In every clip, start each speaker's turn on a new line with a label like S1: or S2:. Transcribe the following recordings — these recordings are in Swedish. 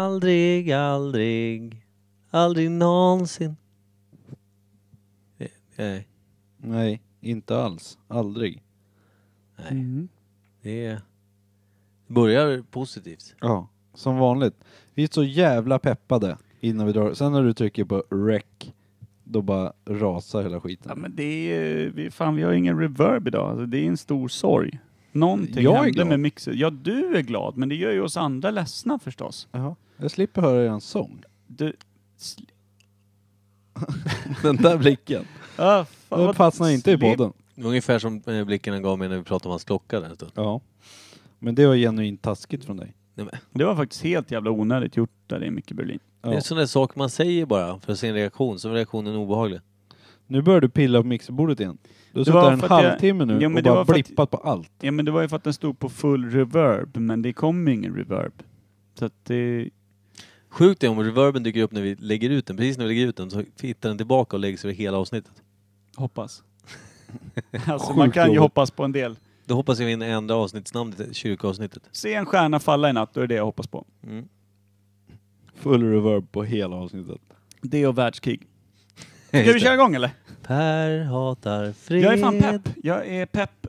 S1: Aldrig, aldrig, aldrig någonsin. Eh, Nej,
S2: Nej, inte alls. Aldrig.
S1: nej. Det är- det börjar positivt.
S2: Ja, som vanligt. Vi är så jävla peppade innan vi drar. Sen när du trycker på rec, då bara rasar hela
S3: Ja,
S2: skiten.
S3: men det är, eh, vi, fan, vi har ingen reverb idag. Alltså, det är en stor sorg. Någonting
S2: Jag är
S3: hände
S2: glad.
S3: med mixen. Ja, du är glad, men det gör ju oss andra ledsna förstås.
S2: Jaha. Jag slipper höra er sång.
S3: Du, sl-
S2: Den där blicken.
S3: ah, fan,
S2: Den
S3: vad-
S2: fastnar inte i
S3: slip-
S2: podden.
S1: Det var Ungefär som eh, blicken han gav mig när vi pratade om hans klocka där en stund.
S2: Ja. Men det var genuint taskigt från dig.
S1: Nej, men,
S3: Det var faktiskt helt jävla onödigt gjort där det är Micke Berlin.
S2: Ja.
S1: Det är en sån där sak man säger bara för att se en reaktion, så är reaktionen obehaglig.
S2: Nu börjar du pilla på mixerbordet igen. Du har
S3: Det
S2: suttit
S3: var
S2: där en
S3: för att jag-
S2: halvtimme nu
S3: Ja, men
S2: och
S3: det
S2: bara
S3: var för att-
S2: blippat på allt.
S3: Ja, men det var ju för att den stod på full reverb, men det kom ingen reverb. Så att det...
S1: Sjukt är om reverben dyker upp när vi lägger ut den. Precis när vi lägger ut den så hittar den tillbaka och lägger sig över hela avsnittet.
S3: Hoppas. alltså,
S2: Sjukt
S3: man kan ju
S2: jobbigt.
S3: hoppas på en del.
S1: Då hoppas jag vi hinner ändra avsnittsnamnet, eh, kyrkoavsnittet.
S3: Se en stjärna falla i natt, då är det jag hoppas på.
S1: Mm.
S2: Full reverb på hela avsnittet.
S3: Det och världskrig. Ska vi köra igång eller?
S1: Per hatar fred.
S3: Jag är fan pepp. Jag är pepp.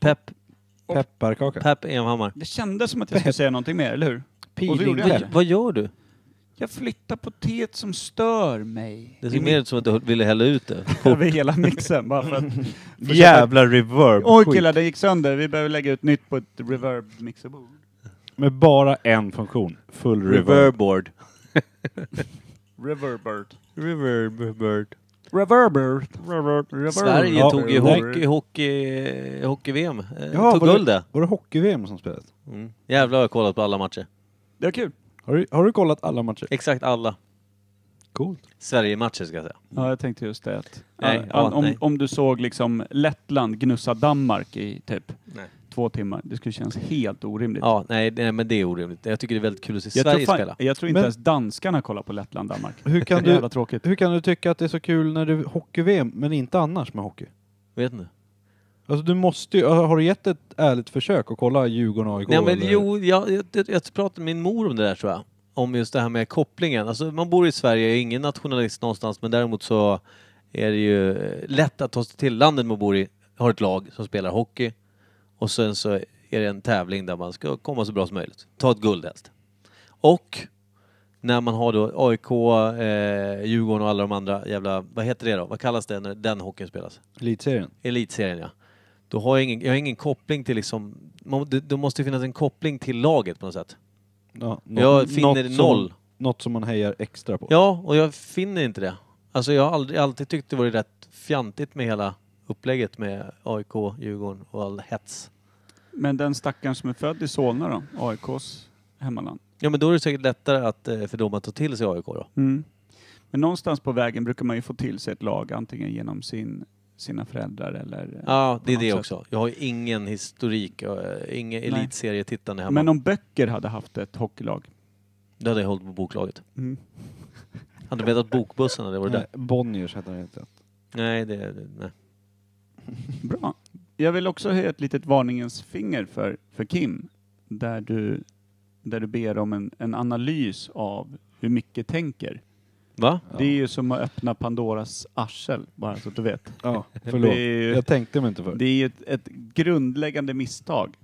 S1: Pepp,
S2: Pepparkaka.
S1: pepp Enhammar.
S3: Det kändes som att jag skulle säga någonting mer, eller hur? Och så gjorde jag
S2: Peelingpepp.
S3: det.
S1: Vad gör du?
S3: Jag flyttar på teet som stör mig.
S1: Det
S3: I
S1: ser mer ut som att du ville hälla ut det.
S3: mitt- Över hela mixen bara för att... för att-
S2: Jävla reverb.
S3: Oj
S2: Skit.
S3: killar, det gick sönder. Vi behöver lägga ut nytt på ett reverb-mixerbord.
S2: Med bara en funktion. Full reverb.
S1: Reverboard.
S3: Reverbert.
S1: Reverboard.
S3: Reverbert. Reverb.
S1: Sverige
S2: Ja,
S1: tog ju
S2: reverb.
S1: hockey, hockey, hockey-VM. Eh,
S2: Ja,
S1: tog
S2: var det-
S1: guld det.
S2: Var det hockey-VM som spelades?
S1: Mm. Jävlar har jag kollat på alla matcher.
S3: Det var kul.
S2: Har du, har du kollat alla matcher?
S1: Exakt alla.
S2: Coolt.
S1: Sverige-matcher ska jag säga.
S3: Ja, jag tänkte just det. Att,
S1: Nej,
S3: an-
S1: ja,
S3: om,
S1: nej.
S3: om du såg liksom Lettland gnussa Danmark i typ
S1: Nej.
S3: två timmar, det skulle kännas helt orimligt.
S1: Ja, nej, nej men det är orimligt. Jag tycker det är väldigt kul att se
S3: jag,
S1: Sverige
S3: tror fan-
S1: spela.
S3: jag tror inte
S2: Men-
S3: ens danskarna kollar på Lettland-Danmark.
S2: Hur kan,
S3: Det är
S2: du,
S3: jävla tråkigt.
S2: hur kan du tycka att det är så kul när det är hockey-VM men inte annars med hockey?
S1: Vet ni?
S2: Alltså du måste ju, har du gett ett ärligt försök att kolla Djurgården-AIK?
S1: Nej men
S2: eller?
S1: jo, jag, jag, jag, jag pratade med min mor om det där tror jag. Om just det här med kopplingen. Alltså man bor i Sverige, jag är ingen nationalist någonstans men däremot så är det ju eh, lätt att ta sig till landet man bor i, har ett lag som spelar hockey och sen så är det en tävling där man ska komma så bra som möjligt. Ta ett guld helst. Och när man har då AIK, eh, Djurgården och alla de andra jävla, vad heter det då? Vad kallas det när den hockeyn spelas?
S2: Elitserien?
S1: Elitserien ja. Då har jag ingen, jag har ingen koppling till liksom, man, det, det måste finnas en koppling till laget på något sätt.
S2: Ja, nå-
S1: jag finner
S2: något
S1: noll.
S2: Som, något som man hejar extra på?
S1: Ja, och jag finner inte det. Alltså jag har aldrig, alltid tyckt det varit rätt fjantigt med hela upplägget med AIK, Djurgården och all hets.
S3: Men den stackaren som är född i Solna då, AIKs hemmaland.
S1: Ja men då är det säkert lättare att, eh, för dem att ta till sig AIK då.
S3: Men någonstans på vägen brukar man ju få till sig ett lag, antingen genom sin, sina föräldrar eller...
S1: Ja, det är
S3: på
S1: det
S3: något
S1: också. Jag har ju ingen historik, eh, ingen
S3: Nej.
S1: elitserietittande hemma.
S3: Men om böcker hade haft ett hockeylag.
S1: Då hade jag hållit på boklaget.
S3: Mm.
S1: Hade du vetat bokbussen hade det varit
S2: Nej,
S1: där.
S2: Bonniers heter det inte.
S1: Nej, det... det- Nej.
S3: Bra. Jag vill också höja ett litet varningens finger för, för Kim, där du, där du ber om en, en analys av hur mycket tänker.
S1: Va?
S2: Ja.
S3: Det är ju som att öppna Pandoras arsel, bara så att du vet.
S2: Ja, förlåt.
S3: Det är ju,
S2: Jag tänkte mig inte för.
S3: det är ju ett, ett grundläggande misstag,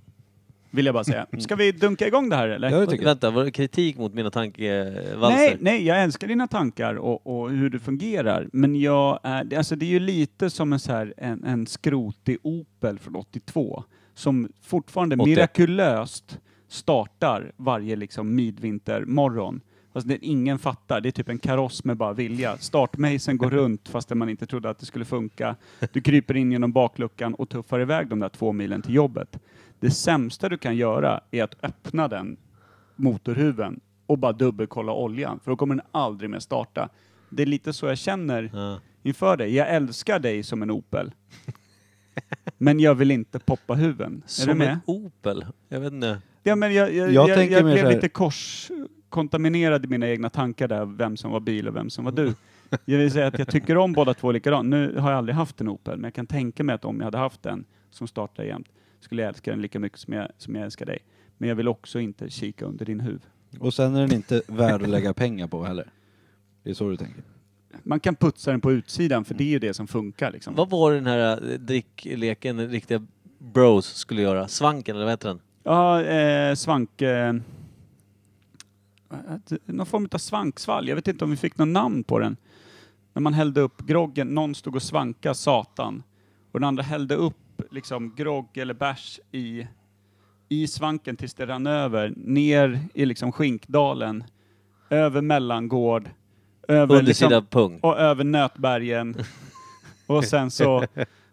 S3: vill jag bara säga. Ska vi dunka igång det här eller?
S2: Ja, det tycker jag.
S1: Vänta, var det kritik mot mina tankevalser?
S3: Nej, nej, jag älskar dina tankar och, och hur du fungerar. Men jag är, det- alltså det är ju lite som en, så här, en, en skrotig Opel från 82 som fortfarande
S1: 81.
S3: mirakulöst startar varje liksom midvintermorgon. Fast det ingen fattar. Det är typ en kaross med bara vilja. Startmejseln går runt fastän man inte trodde att det skulle funka. Du kryper in genom bakluckan och tuffar iväg de där två milen till jobbet. Det sämsta du kan göra är att öppna den motorhuven och bara dubbelkolla oljan, för då kommer den aldrig mer starta. Det är lite så jag känner
S1: Ja.
S3: inför dig. Jag älskar dig som en Opel. Men jag vill inte poppa huven. Är du
S1: Som
S3: med?
S1: en Opel? Jag vet inte.
S3: Ja, men jag, jag,
S2: Jag
S3: jag, jag,
S2: tänker mer så
S3: blev
S2: här-
S3: lite korskontaminerad i mina egna tankar där, vem som var bil och vem som var du. Jag vill säga att jag tycker om båda två likadant. Nu har jag aldrig haft en Opel, men jag kan tänka mig att om jag hade haft en som startar jämt, skulle jag älska den lika mycket som jag, som jag älskar dig. Men Men jag vill också inte kika under din huv.
S2: Och sen är den inte värd att lägga pengar på heller. Det är så du tänker?
S3: Man kan putsa den på utsidan för det är ju det som funkar liksom.
S1: Vad var den här eh, drickleken den riktiga bros skulle göra? Svanken eller vad heter den?
S3: Ja, eh, svank... Eh, någon form av svanksvall. Jag vet inte om vi fick något namn på den. När man hällde upp groggen, någon stod och svanka satan. Och den andra hällde upp liksom grogg eller bärs i, i svanken tills det rann över. Ner i liksom skinkdalen. Över mellangård. Över liksom,
S1: Undersida pung.
S3: och över Nötbergen. och, sen så,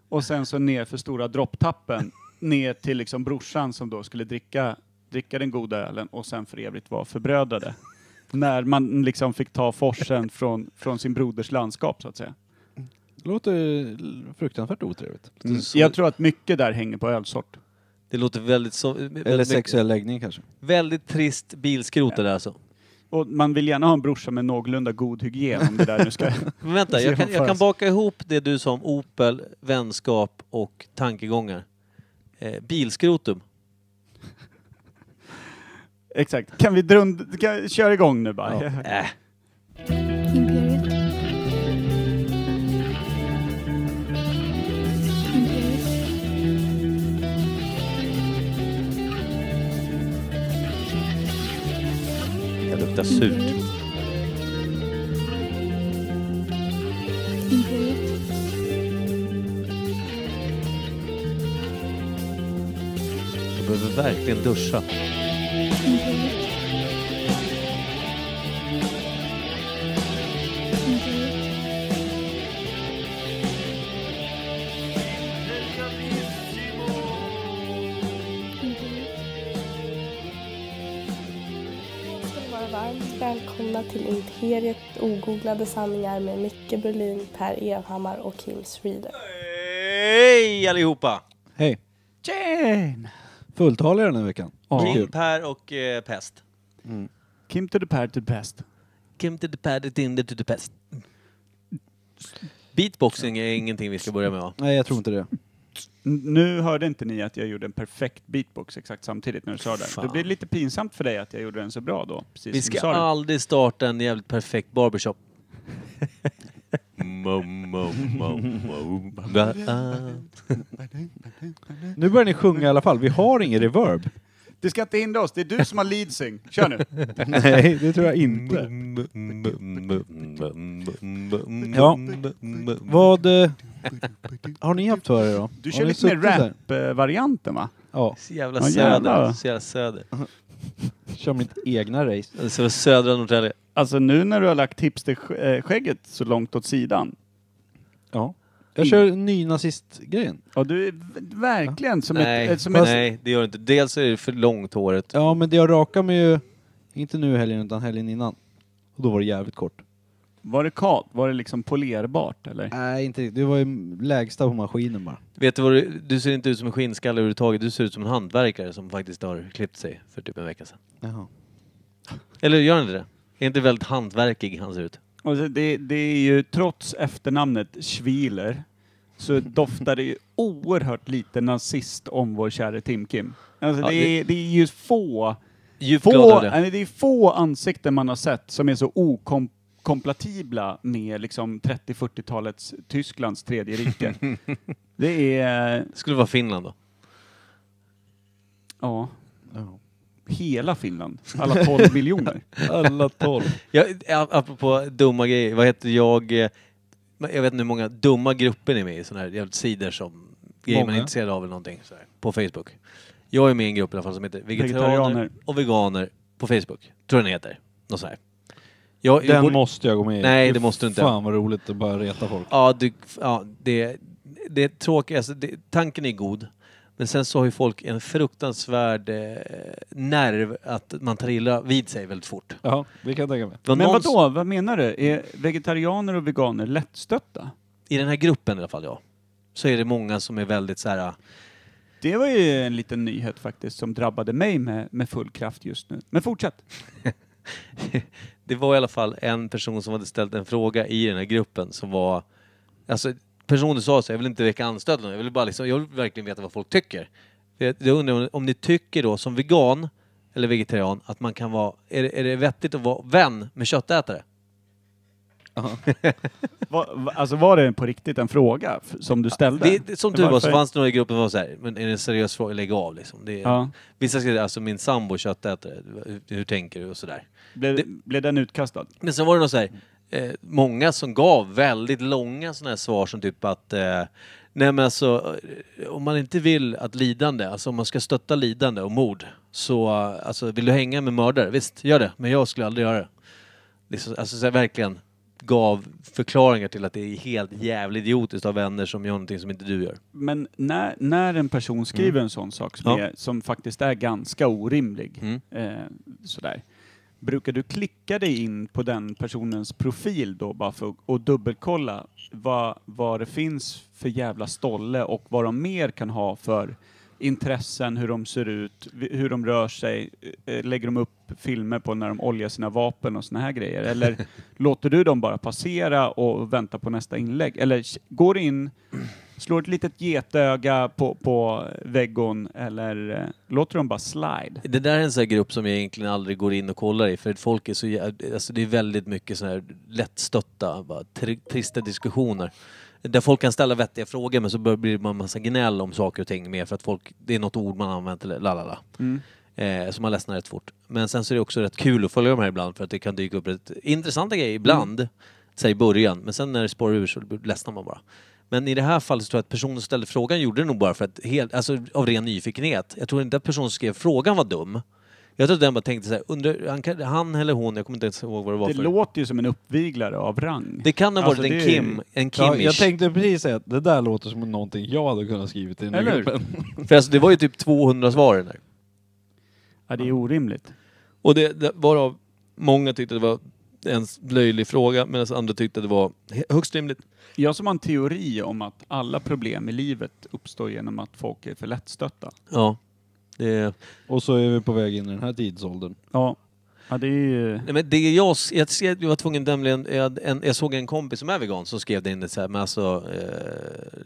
S3: och sen så ner för Stora Dropptappen. Ner till liksom brorsan som då skulle dricka, dricka den goda ölen och sen för övrigt var förbrödrade. När man liksom fick ta forsen från, från sin broders landskap så att säga.
S2: Det låter fruktansvärt otrevligt.
S1: så-
S3: Jag tror att mycket där hänger på ölsort.
S1: Det låter väldigt så... väldigt
S2: Eller
S1: mycket-
S2: sexuell läggning kanske.
S1: Väldigt trist bilskrot det där alltså.
S3: Och man vill gärna ha en brorsa med någorlunda god hygien om det där nu ska...
S1: Men vänta,
S3: Se
S1: jag kan,
S3: vad
S1: jag
S3: fan.
S1: kan baka ihop det du sa om Opel, vänskap och tankegångar. Eh, bilskrotum.
S3: Exakt. Kan vi drund... Kan... Kör igång nu bara.
S1: Äh,
S4: Imperiet. Imperiet.
S1: det luktar surt.
S4: Imperiet.
S1: Jag behöver verkligen duscha.
S4: Imperiet. Imperiet. Imperiet.
S5: ska ni vara varmt välkomna till Imperiet ogooglade sanningar med Micke Berlin, Per Evhammar och Kim Schreeder.
S1: Hej allihopa!
S2: Hej!
S3: Jane!
S2: Fulltaliga den här veckan.
S3: Ja.
S1: Kim, Per och eh, Pest.
S3: Kim to the pad to the best.
S1: Kim to the paddy, Tinder to the Pest. Beatboxing är ingenting vi ska börja med va?
S2: Nej, jag tror inte det.
S3: N- Nu hörde inte ni att jag gjorde en perfekt beatbox exakt samtidigt när du sa det.
S1: Fan.
S3: Det blir lite pinsamt för dig att jag gjorde den så bra då. Precis
S1: Vi
S3: som du
S1: ska
S3: sa det.
S1: aldrig starta en jävligt perfekt barbershop. Mo, mo, mo, mo. Da, ah.
S2: Nu börjar ni sjunga i alla fall. Vi har ingen reverb.
S3: Det ska inte hindra oss, det är du som har lead sing. Kör nu!
S2: Nej, det tror jag inte. Ja. Vad eh, har ni haft för er då?
S3: Du
S2: Har
S3: kör
S2: ni
S3: lite mer
S2: suttit där?
S3: rap-varianten va?
S2: Ja,
S1: Så jävla
S3: Ja,
S1: söder.
S3: jävlar.
S1: Så jävla söder.
S2: kör mitt egna race.
S1: Så södra Norrtälje.
S3: Alltså nu när du har lagt hipster-skägget eh, så långt åt sidan.
S2: Ja. Jag kör nynazist-grejen.
S3: Ja, du är v- verkligen som
S1: Nej,
S3: ett... eh, Som ett
S1: nej, det gör det inte. Dels är det för långt håret.
S2: Ja, men jag rakade mig ju, inte nu i helgen utan helgen innan. Och då var det jävligt kort.
S3: var det kalt? Var det liksom polerbart eller?
S2: Nej, inte riktigt. Det var ju lägsta på maskinen bara.
S1: Vet du vad du, du ser inte ut som en skinnskalle överhuvudtaget. Du ser ut som en hantverkare som faktiskt har klippt sig för typ en vecka sedan.
S2: Jaha.
S1: Eller gör han inte det? Är inte väldigt hantverkig han ser ut?
S3: Och så det, det är ju trots efternamnet Schwiler så doftar det ju oerhört lite nazist om vår käre Tim Kim. Alltså
S1: Ja,
S3: det,
S1: det-
S3: är, det är ju få,
S1: Djupt glad
S3: få,
S1: över det.
S3: nej, det är få ansikten man har sett som är så okompatibla med liksom 30-40-talets Tysklands tredje rike. det är,
S1: Skulle vara Finland då.
S3: ja,
S2: Ja.
S3: hela Finland. Alla 12 miljoner.
S2: Alla tolv.
S1: Jag, apropå dumma grejer, vad heter jag? eh, Jag vet inte hur många dumma grupper ni är med i, sådana här jävligt sidor som grejer man är
S2: Många.
S1: intresserad av eller någonting så här, på Facebook. Jag är med i en grupp i alla fall som heter Vegetarianer
S3: Vegetarianer.
S1: och Veganer på Facebook, tror jag den heter. Något så här. Jag, jag
S2: Den
S1: borde-
S2: måste jag gå med i.
S1: Nej,
S2: Fy
S1: det måste du inte.
S2: Fan vad roligt att bara reta folk.
S1: Ja, du, ja det, det är tråkigt. Alltså, det, tanken är god. Men sen så har ju folk en fruktansvärd eh, nerv att man tar illa vid sig väldigt fort.
S2: Ja, det kan jag tänka mig.
S1: Det var
S3: Men
S1: någon-
S3: vadå, vad menar du? Är vegetarianer och veganer lättstötta?
S1: I den här gruppen i alla fall, ja. Så är det många som är väldigt så här...
S3: Det var ju en liten nyhet faktiskt som drabbade mig med, med full kraft just nu. Men fortsätt.
S1: det var i alla fall en person som hade ställt en fråga i den här gruppen som var... Alltså, personen sa så, jag vill inte väcka anstöt eller något. jag vill bara liksom, jag vill verkligen veta vad folk tycker. För Jag jag undrar om- om ni tycker då, som vegan, eller vegetarian, att man kan vara... Är det, är det vettigt att vara vän med köttätare?
S3: Va, va, alltså var det på riktigt en fråga f- som du ställde?
S1: Det, som tur var så
S3: Varför-
S1: fanns det några i gruppen som var så här, men är det en seriös fråga? Lägg av liksom. Det är,
S3: Ja.
S1: Vissa skrev alltså min sambo är köttätare, hur, hur tänker du och sådär.
S3: Blev,
S1: Det-
S3: blev den utkastad?
S1: Men sen var det någon så här, eh, många som gav väldigt långa sådana här svar som typ att eh, Nej men alltså, eh, om man inte vill att lidande, alltså om man ska stötta lidande och mord, så eh, alltså, vill du hänga med mördare, visst gör det, men jag skulle aldrig göra det. Liksom, alltså så här, verkligen gav förklaringar till att det är helt jävligt idiotiskt av vänner som gör någonting som inte du gör.
S3: Men när, när en person skriver en sån sak som,
S1: Mm. Ja.
S3: är, som faktiskt är ganska orimlig,
S1: Mm.
S3: eh, sådär. Brukar du klicka dig in på den personens profil då bara för att och dubbelkolla vad, vad det finns för jävla stolle och vad de mer kan ha för intressen, hur de ser ut, vi- hur de rör sig, eh, lägger de upp filmer på när de oljar sina vapen och såna här grejer? Eller låter du dem bara passera och vänta på nästa inlägg? Eller k- går in, slår ett litet getöga på, på väggen eller eh, låter dem bara slide?
S1: Det där är en sån här grupp som jag egentligen aldrig går in och kollar i för att folk är så jä- alltså det är väldigt mycket sån här lättstötta, bara tri- trista diskussioner. Där folk kan ställa vettiga frågor men så bör- blir det bara en massa gnäll om saker och ting mer för att folk, det är något ord man använt eller la la la. Eh, så man ledsnar rätt fort. Men sen så är det också rätt kul att följa de här ibland för att det kan dyka upp rätt intressanta grejer ibland. Säg i början, men sen när det spårar ur så ledsnar man bara. Men i det här fallet så tror jag att personen som ställde frågan gjorde det nog bara för att helt, alltså av ren nyfikenhet. Jag tror inte att personen som skrev frågan var dum. Jag tror att den bara tänkte så här, undrar, han, kan- han eller hon, jag kommer inte ens ihåg vad det var
S3: Det
S1: för.
S3: låter ju som en uppviglare av rang.
S1: det kan ha varit
S3: Alltså,
S1: en
S3: det är-
S1: Kim, en
S2: Ja,
S1: Kimish.
S2: jag tänkte precis säga att det där låter som någonting jag hade kunnat skrivit i den här
S3: Eller hur?
S2: gruppen.
S1: För alltså, det var ju typ 200 svar i den där.
S3: Ja, det är orimligt.
S1: Och det, det varav många tyckte det var en löjlig fråga medan andra tyckte det var he- högst rimligt.
S3: Jag som har en teori om att alla problem i livet uppstår genom att folk är för lättstötta.
S1: Ja. Det,
S2: Och så är vi på väg in i den här tidsåldern.
S3: Ja, ja det är ju...
S1: nej men det jag, s- jag, ser- jag var tvungen nämligen, jag, hade en, jag såg en kompis som är vegan som skrev det in det så här, men alltså eh,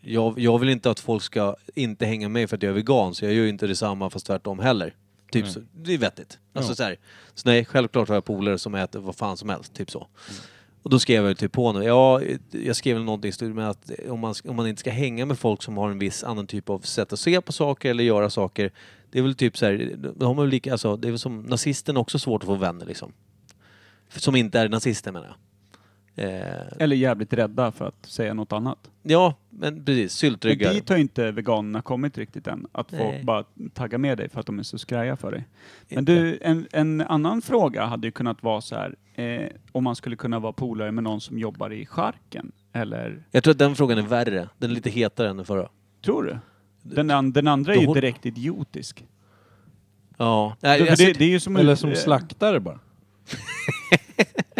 S1: jag, jag vill inte att folk ska inte hänga med mig för att jag är vegan så jag gör ju inte detsamma fast tvärtom heller. Typ så, det är vettigt. Alltså
S2: Ja.
S1: så, här, så nej, självklart har jag polare som äter vad fan som helst, typ så. Och då skrev jag ju typ på honom, ja, jag skrev väl någonting i stil med att om man, om man inte ska hänga med folk som har en viss annan typ av sätt att se på saker eller göra saker, det är väl typ så här, då har man väl lika, alltså, det är väl som nazisten också svårt att få vänner liksom. Som inte är nazister menar jag. Eh,
S3: Eller jävligt rädda för att säga något annat.
S1: ja, men precis,
S3: Men
S1: syltryggar.
S3: dit har ju inte veganerna kommit riktigt än. Att folk
S1: Nej.
S3: bara taggar med dig för att de är så skraja för dig. Men
S1: Inte.
S3: du, en, en annan fråga hade ju kunnat vara så här. Eh, om man skulle kunna vara polare med någon som jobbar i charken. Eller,
S1: Jag tror att den frågan är värre, den är lite hetare än den förra.
S3: tror du? Den, an, den andra är
S1: Då
S3: ju
S1: hon-
S3: direkt idiotisk.
S1: Ja. Nej,
S3: För
S1: alltså,
S3: det, det är ju som
S2: Eller som
S3: eh,
S2: slaktare bara.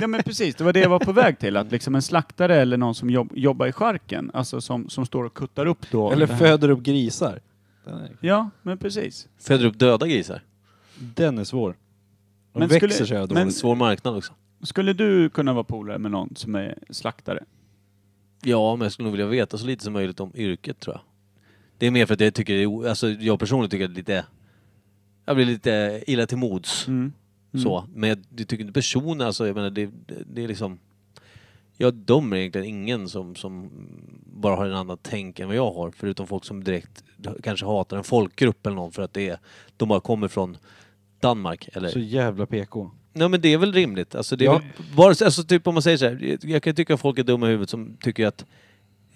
S3: Ja men precis, det var det jag var på väg till. Att liksom en slaktare eller någon som jobb, jobbar i charken, alltså som, som står och kuttar upp då.
S2: Eller
S3: det här-
S2: föder upp grisar. Den är,
S3: Ja, men precis.
S1: Föder upp döda grisar.
S2: den är svår. De
S3: Men
S2: växer
S3: skulle-
S2: sig här dåligt.
S3: men-
S1: Svår marknad också.
S3: Skulle du kunna vara polare med någon som är slaktare?
S1: Ja, men jag skulle nog vilja veta så lite som möjligt om yrket tror jag. Det är mer för att jag tycker det är, o- alltså jag personligen tycker att det är lite, jag blir lite illa till mods
S3: Mm.
S2: Mm.
S1: så. Men jag, jag tycker inte personen, alltså jag menar det, det, det är liksom, jag dömer egentligen ingen som, som bara har en annan tänk än vad jag har. Förutom folk som direkt kanske hatar en folkgrupp eller någon för att det är, de bara kommer från Danmark eller
S2: Så jävla PK.
S1: Nej men det är väl rimligt. Alltså, det är
S2: Ja.
S1: väl, bara, alltså typ om man säger så här, jag kan tycka att folk är dumma i huvudet som tycker att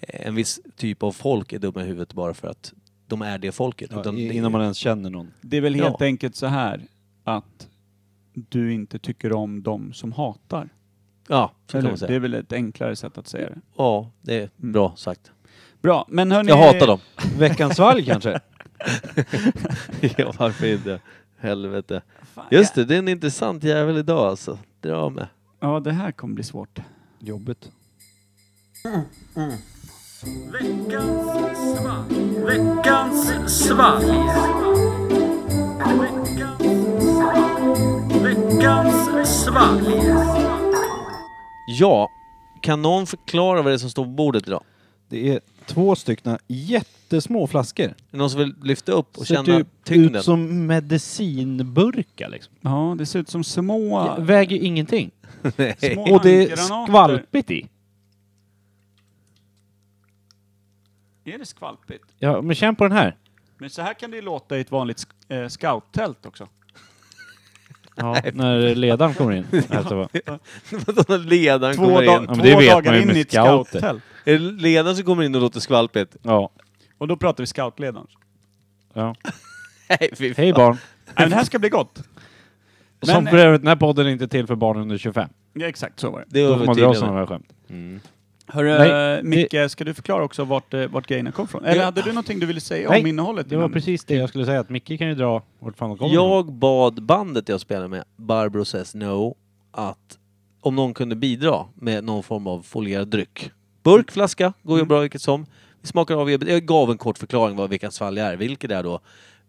S1: en viss typ av folk är dumma i huvudet bara för att de är det folket.
S2: Ja,
S1: Utan
S2: i-
S1: det-
S2: innan man ens känner någon.
S3: Det är väl
S1: Ja.
S3: helt enkelt så här att du inte tycker om de som hatar.
S1: Ja, så kan
S3: Eller
S1: man
S3: hur? Det
S1: säga.
S3: är väl ett enklare sätt att säga det.
S1: Ja, det är
S3: Mm.
S1: bra sagt.
S3: Bra, men hörni... eh,
S1: Jag hatar dem.
S2: Veckans valg kanske?
S1: ja, varför inte? Helvete.
S3: Fan,
S1: Just det, det är en intressant jävel idag alltså. Dra med.
S3: Ja, det här kommer bli svårt.
S2: Jobbigt.
S1: Ja, kan någon förklara vad det är som står på bordet idag?
S2: Det är två stycken jättesmå flaskor.
S1: Är det någon som vill lyfta upp och
S6: Ser
S1: känna
S6: typ
S1: tyngden?
S6: ut som medicinburkar liksom.
S3: Ja, det ser ut som små...
S6: Det väger ju ingenting.
S1: Nej.
S3: små
S6: Och det är
S3: handgranater.
S6: skvalpigt i.
S3: Är det skvalpigt?
S6: Ja, men känn på den här.
S3: Men så här kan det ju låta i ett vanligt sk- eh, scouttält också.
S6: Ja, när ledaren kommer in. Alltså, va.
S1: När ledaren
S3: Två,
S1: kommer
S3: da-
S1: in.
S6: men
S3: två
S6: det vet man
S3: dagar
S6: ju
S3: in
S6: med
S3: i ett
S6: scouter.
S3: scouttält.
S1: Är det ledaren som kommer in och låter skvalpigt?
S6: ja,
S3: Och då pratar vi scoutledaren.
S6: ja.
S1: Nej, fy fan.
S6: Hej barn.
S3: Nej, men det här ska bli gott.
S6: Som
S3: Men- eh,
S6: för övrigt, den här podden är inte till för barn under 25.
S3: Ja, exakt så var det.
S1: Det
S6: Då får
S1: var
S6: man dra
S1: tydligen.
S6: sådana här skämt.
S3: Hörru,
S6: Nej,
S3: Micke, ska du förklara också vart, eh, vart grejerna kom från? Eller hade du någonting du ville säga
S6: Nej,
S3: om innehållet?
S6: Det var
S3: innan?
S6: precis det jag skulle säga, att Micke kan ju dra vart fan de kommer ifrån.
S1: Jag bad bandet jag spelar med, Barbro Says No, att om någon kunde bidra med någon form av folierad dryck. Burk, flaska, går ju bra vilket som. Vi smakar av erbjud- Jag gav en kort förklaring vad veckans fall är, vilket är då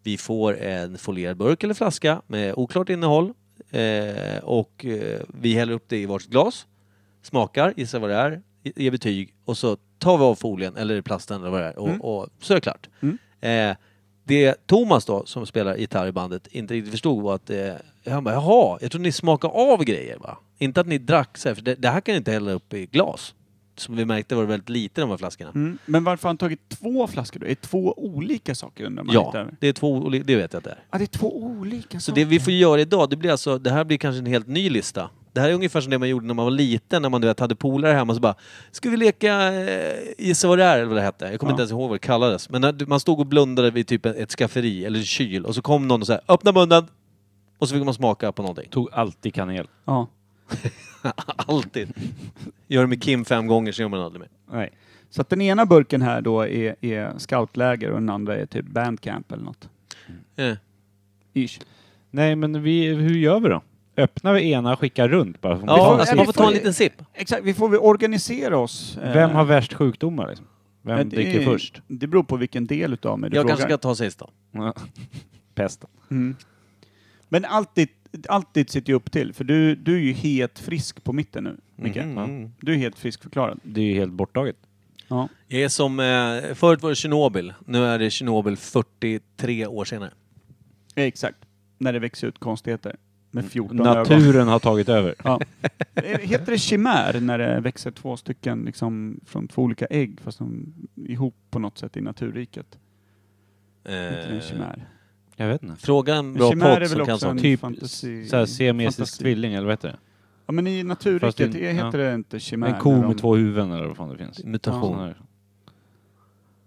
S1: vi får en folierad burk eller flaska med oklart innehåll eh, och eh, vi häller upp det i vårt glas, smakar, gissar vad det är, ge- ger betyg och så tar vi av folien eller plasten eller vad det är och, och så är det klart. Eh, det Thomas då, som spelar gitarr i bandet, inte riktigt förstod var att eh, han bara ”Jaha, jag trodde ni smakade av grejer va? Inte att ni drack så här, för det, det här kan ni inte hälla upp i glas”. Som vi märkte var det väldigt lite i de här flaskorna.
S3: Mm. Men varför har han tagit två flaskor då? Är det två olika saker undrar man
S1: ja,
S3: lite.
S1: det är två oli- det vet jag att det är.
S3: Ja, det är två
S1: Så
S3: olika saker.
S1: det vi får göra idag, det blir alltså, det här blir kanske en helt ny lista. Det här är ungefär som det man gjorde när man var liten, när man du vet, hade polare hemma så bara ”Ska vi leka eh, Gissa vad det är?” eller vad det hette. Jag kommer
S3: Ja.
S1: inte ens ihåg vad det kallades. Men när, du- man stod och blundade vid typ ett skafferi eller en kyl och så kom någon och sa ”Öppna munnen!” och så fick man smaka på någonting.
S6: Tog alltid kanel.
S3: Ja.
S1: Alltid. Gör det med Kim fem gånger så gör man aldrig mer.
S6: Nej.
S3: Så att den ena burken här då är, är scoutläger och den andra är typ bandcamp eller något.
S1: Eh.
S3: Ish.
S6: Nej, men vi, hur gör vi då? Öppnar vi ena och skickar runt bara? för att
S1: Ja,
S6: se-
S1: alltså man får ta en liten sipp.
S3: Exakt, vi får väl organisera oss. eh,
S6: Vem har värst sjukdomar liksom? Vem
S3: eh, det-
S6: dricker först?
S3: Det beror på vilken del utav mig du
S1: Jag
S3: frågar.
S1: kanske ska ta sist då.
S6: Ja. Pesten.
S3: Mm. Men allt ditt, allt ditt sitter ju upp till, för du, du är ju helt frisk på mitten nu, Micke.
S1: Mm.
S3: Du är helt friskförklarad.
S6: Det är ju helt borttaget.
S3: Ja.
S1: Jag är som, eh, förut var det Tjernobyl, nu är det Tjernobyl 43 år senare.
S3: Exakt. När det växer ut konstigheter.
S6: Mm.
S3: Med 14 ögon.
S6: Naturen har tagit över.
S3: Ja. Eh, Heter det chimär när det växer två stycken liksom, från två olika ägg fast de är ihop på något sätt i naturriket? Heter det en
S1: Eh,
S3: chimär?
S6: Jag vet inte.
S1: fråga en bra
S3: En chimär är
S1: podd
S3: väl
S1: som kan
S3: också en
S1: sånt.
S6: Typ
S3: fantasi...
S6: Så här siamesisk
S3: fantasi.
S6: tvilling eller vad heter det?
S3: Ja men i
S6: Fast
S3: naturriket
S6: det-
S3: är- heter det inte chimär.
S6: en ko
S3: när de-
S6: med två huvuden eller vad fan det finns. Sån
S1: Mutation.
S6: här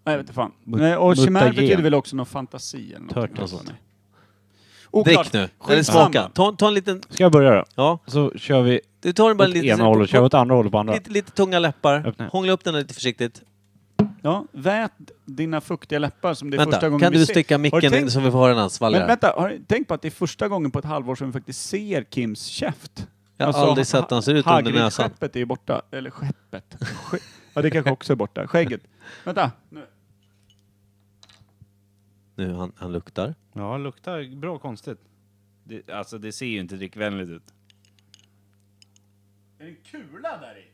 S3: Nej jag vet inte fan.
S6: Mut-
S3: Nej, och chimär
S6: mutagen.
S3: betyder väl också någon fantasi eller någonting.
S6: Turtles.
S3: Alltså, nej.
S1: Drick nu. Eller
S3: Skitsamma.
S1: smaka. Ta, ta en liten...
S6: Ska jag börja då?
S1: Ja.
S6: Så kör vi
S1: Du tar den bara
S6: åt
S1: lite...
S6: ena hållet, kör vi åt andra hållet på andra.
S1: lite, lite tunga läppar.
S6: Öppna.
S1: Hångla upp den här lite försiktigt.
S3: Ja, vät dina fuktiga läppar som det är första
S1: Vänta,
S3: gången
S1: kan
S3: vi
S1: du
S3: ser-
S1: sticka
S3: Har du
S1: micken in
S3: tänkt-
S1: så vi får höra när han
S3: Men
S1: svalgar?
S3: vänta, har ni tänkt på att det är första gången på ett halvår som vi faktiskt ser Kims käft?
S1: Jag har aldrig sett hur han ser ut under näsan.
S3: skeppet är ju borta. Eller skeppet. Ske- ja, det kanske också är borta. Skägget. Vänta. Nu.
S1: Nu, han, han luktar.
S6: Ja, luktar bra konstigt. Det, alltså det ser ju inte drickvänligt ut.
S3: Är det en kula där i?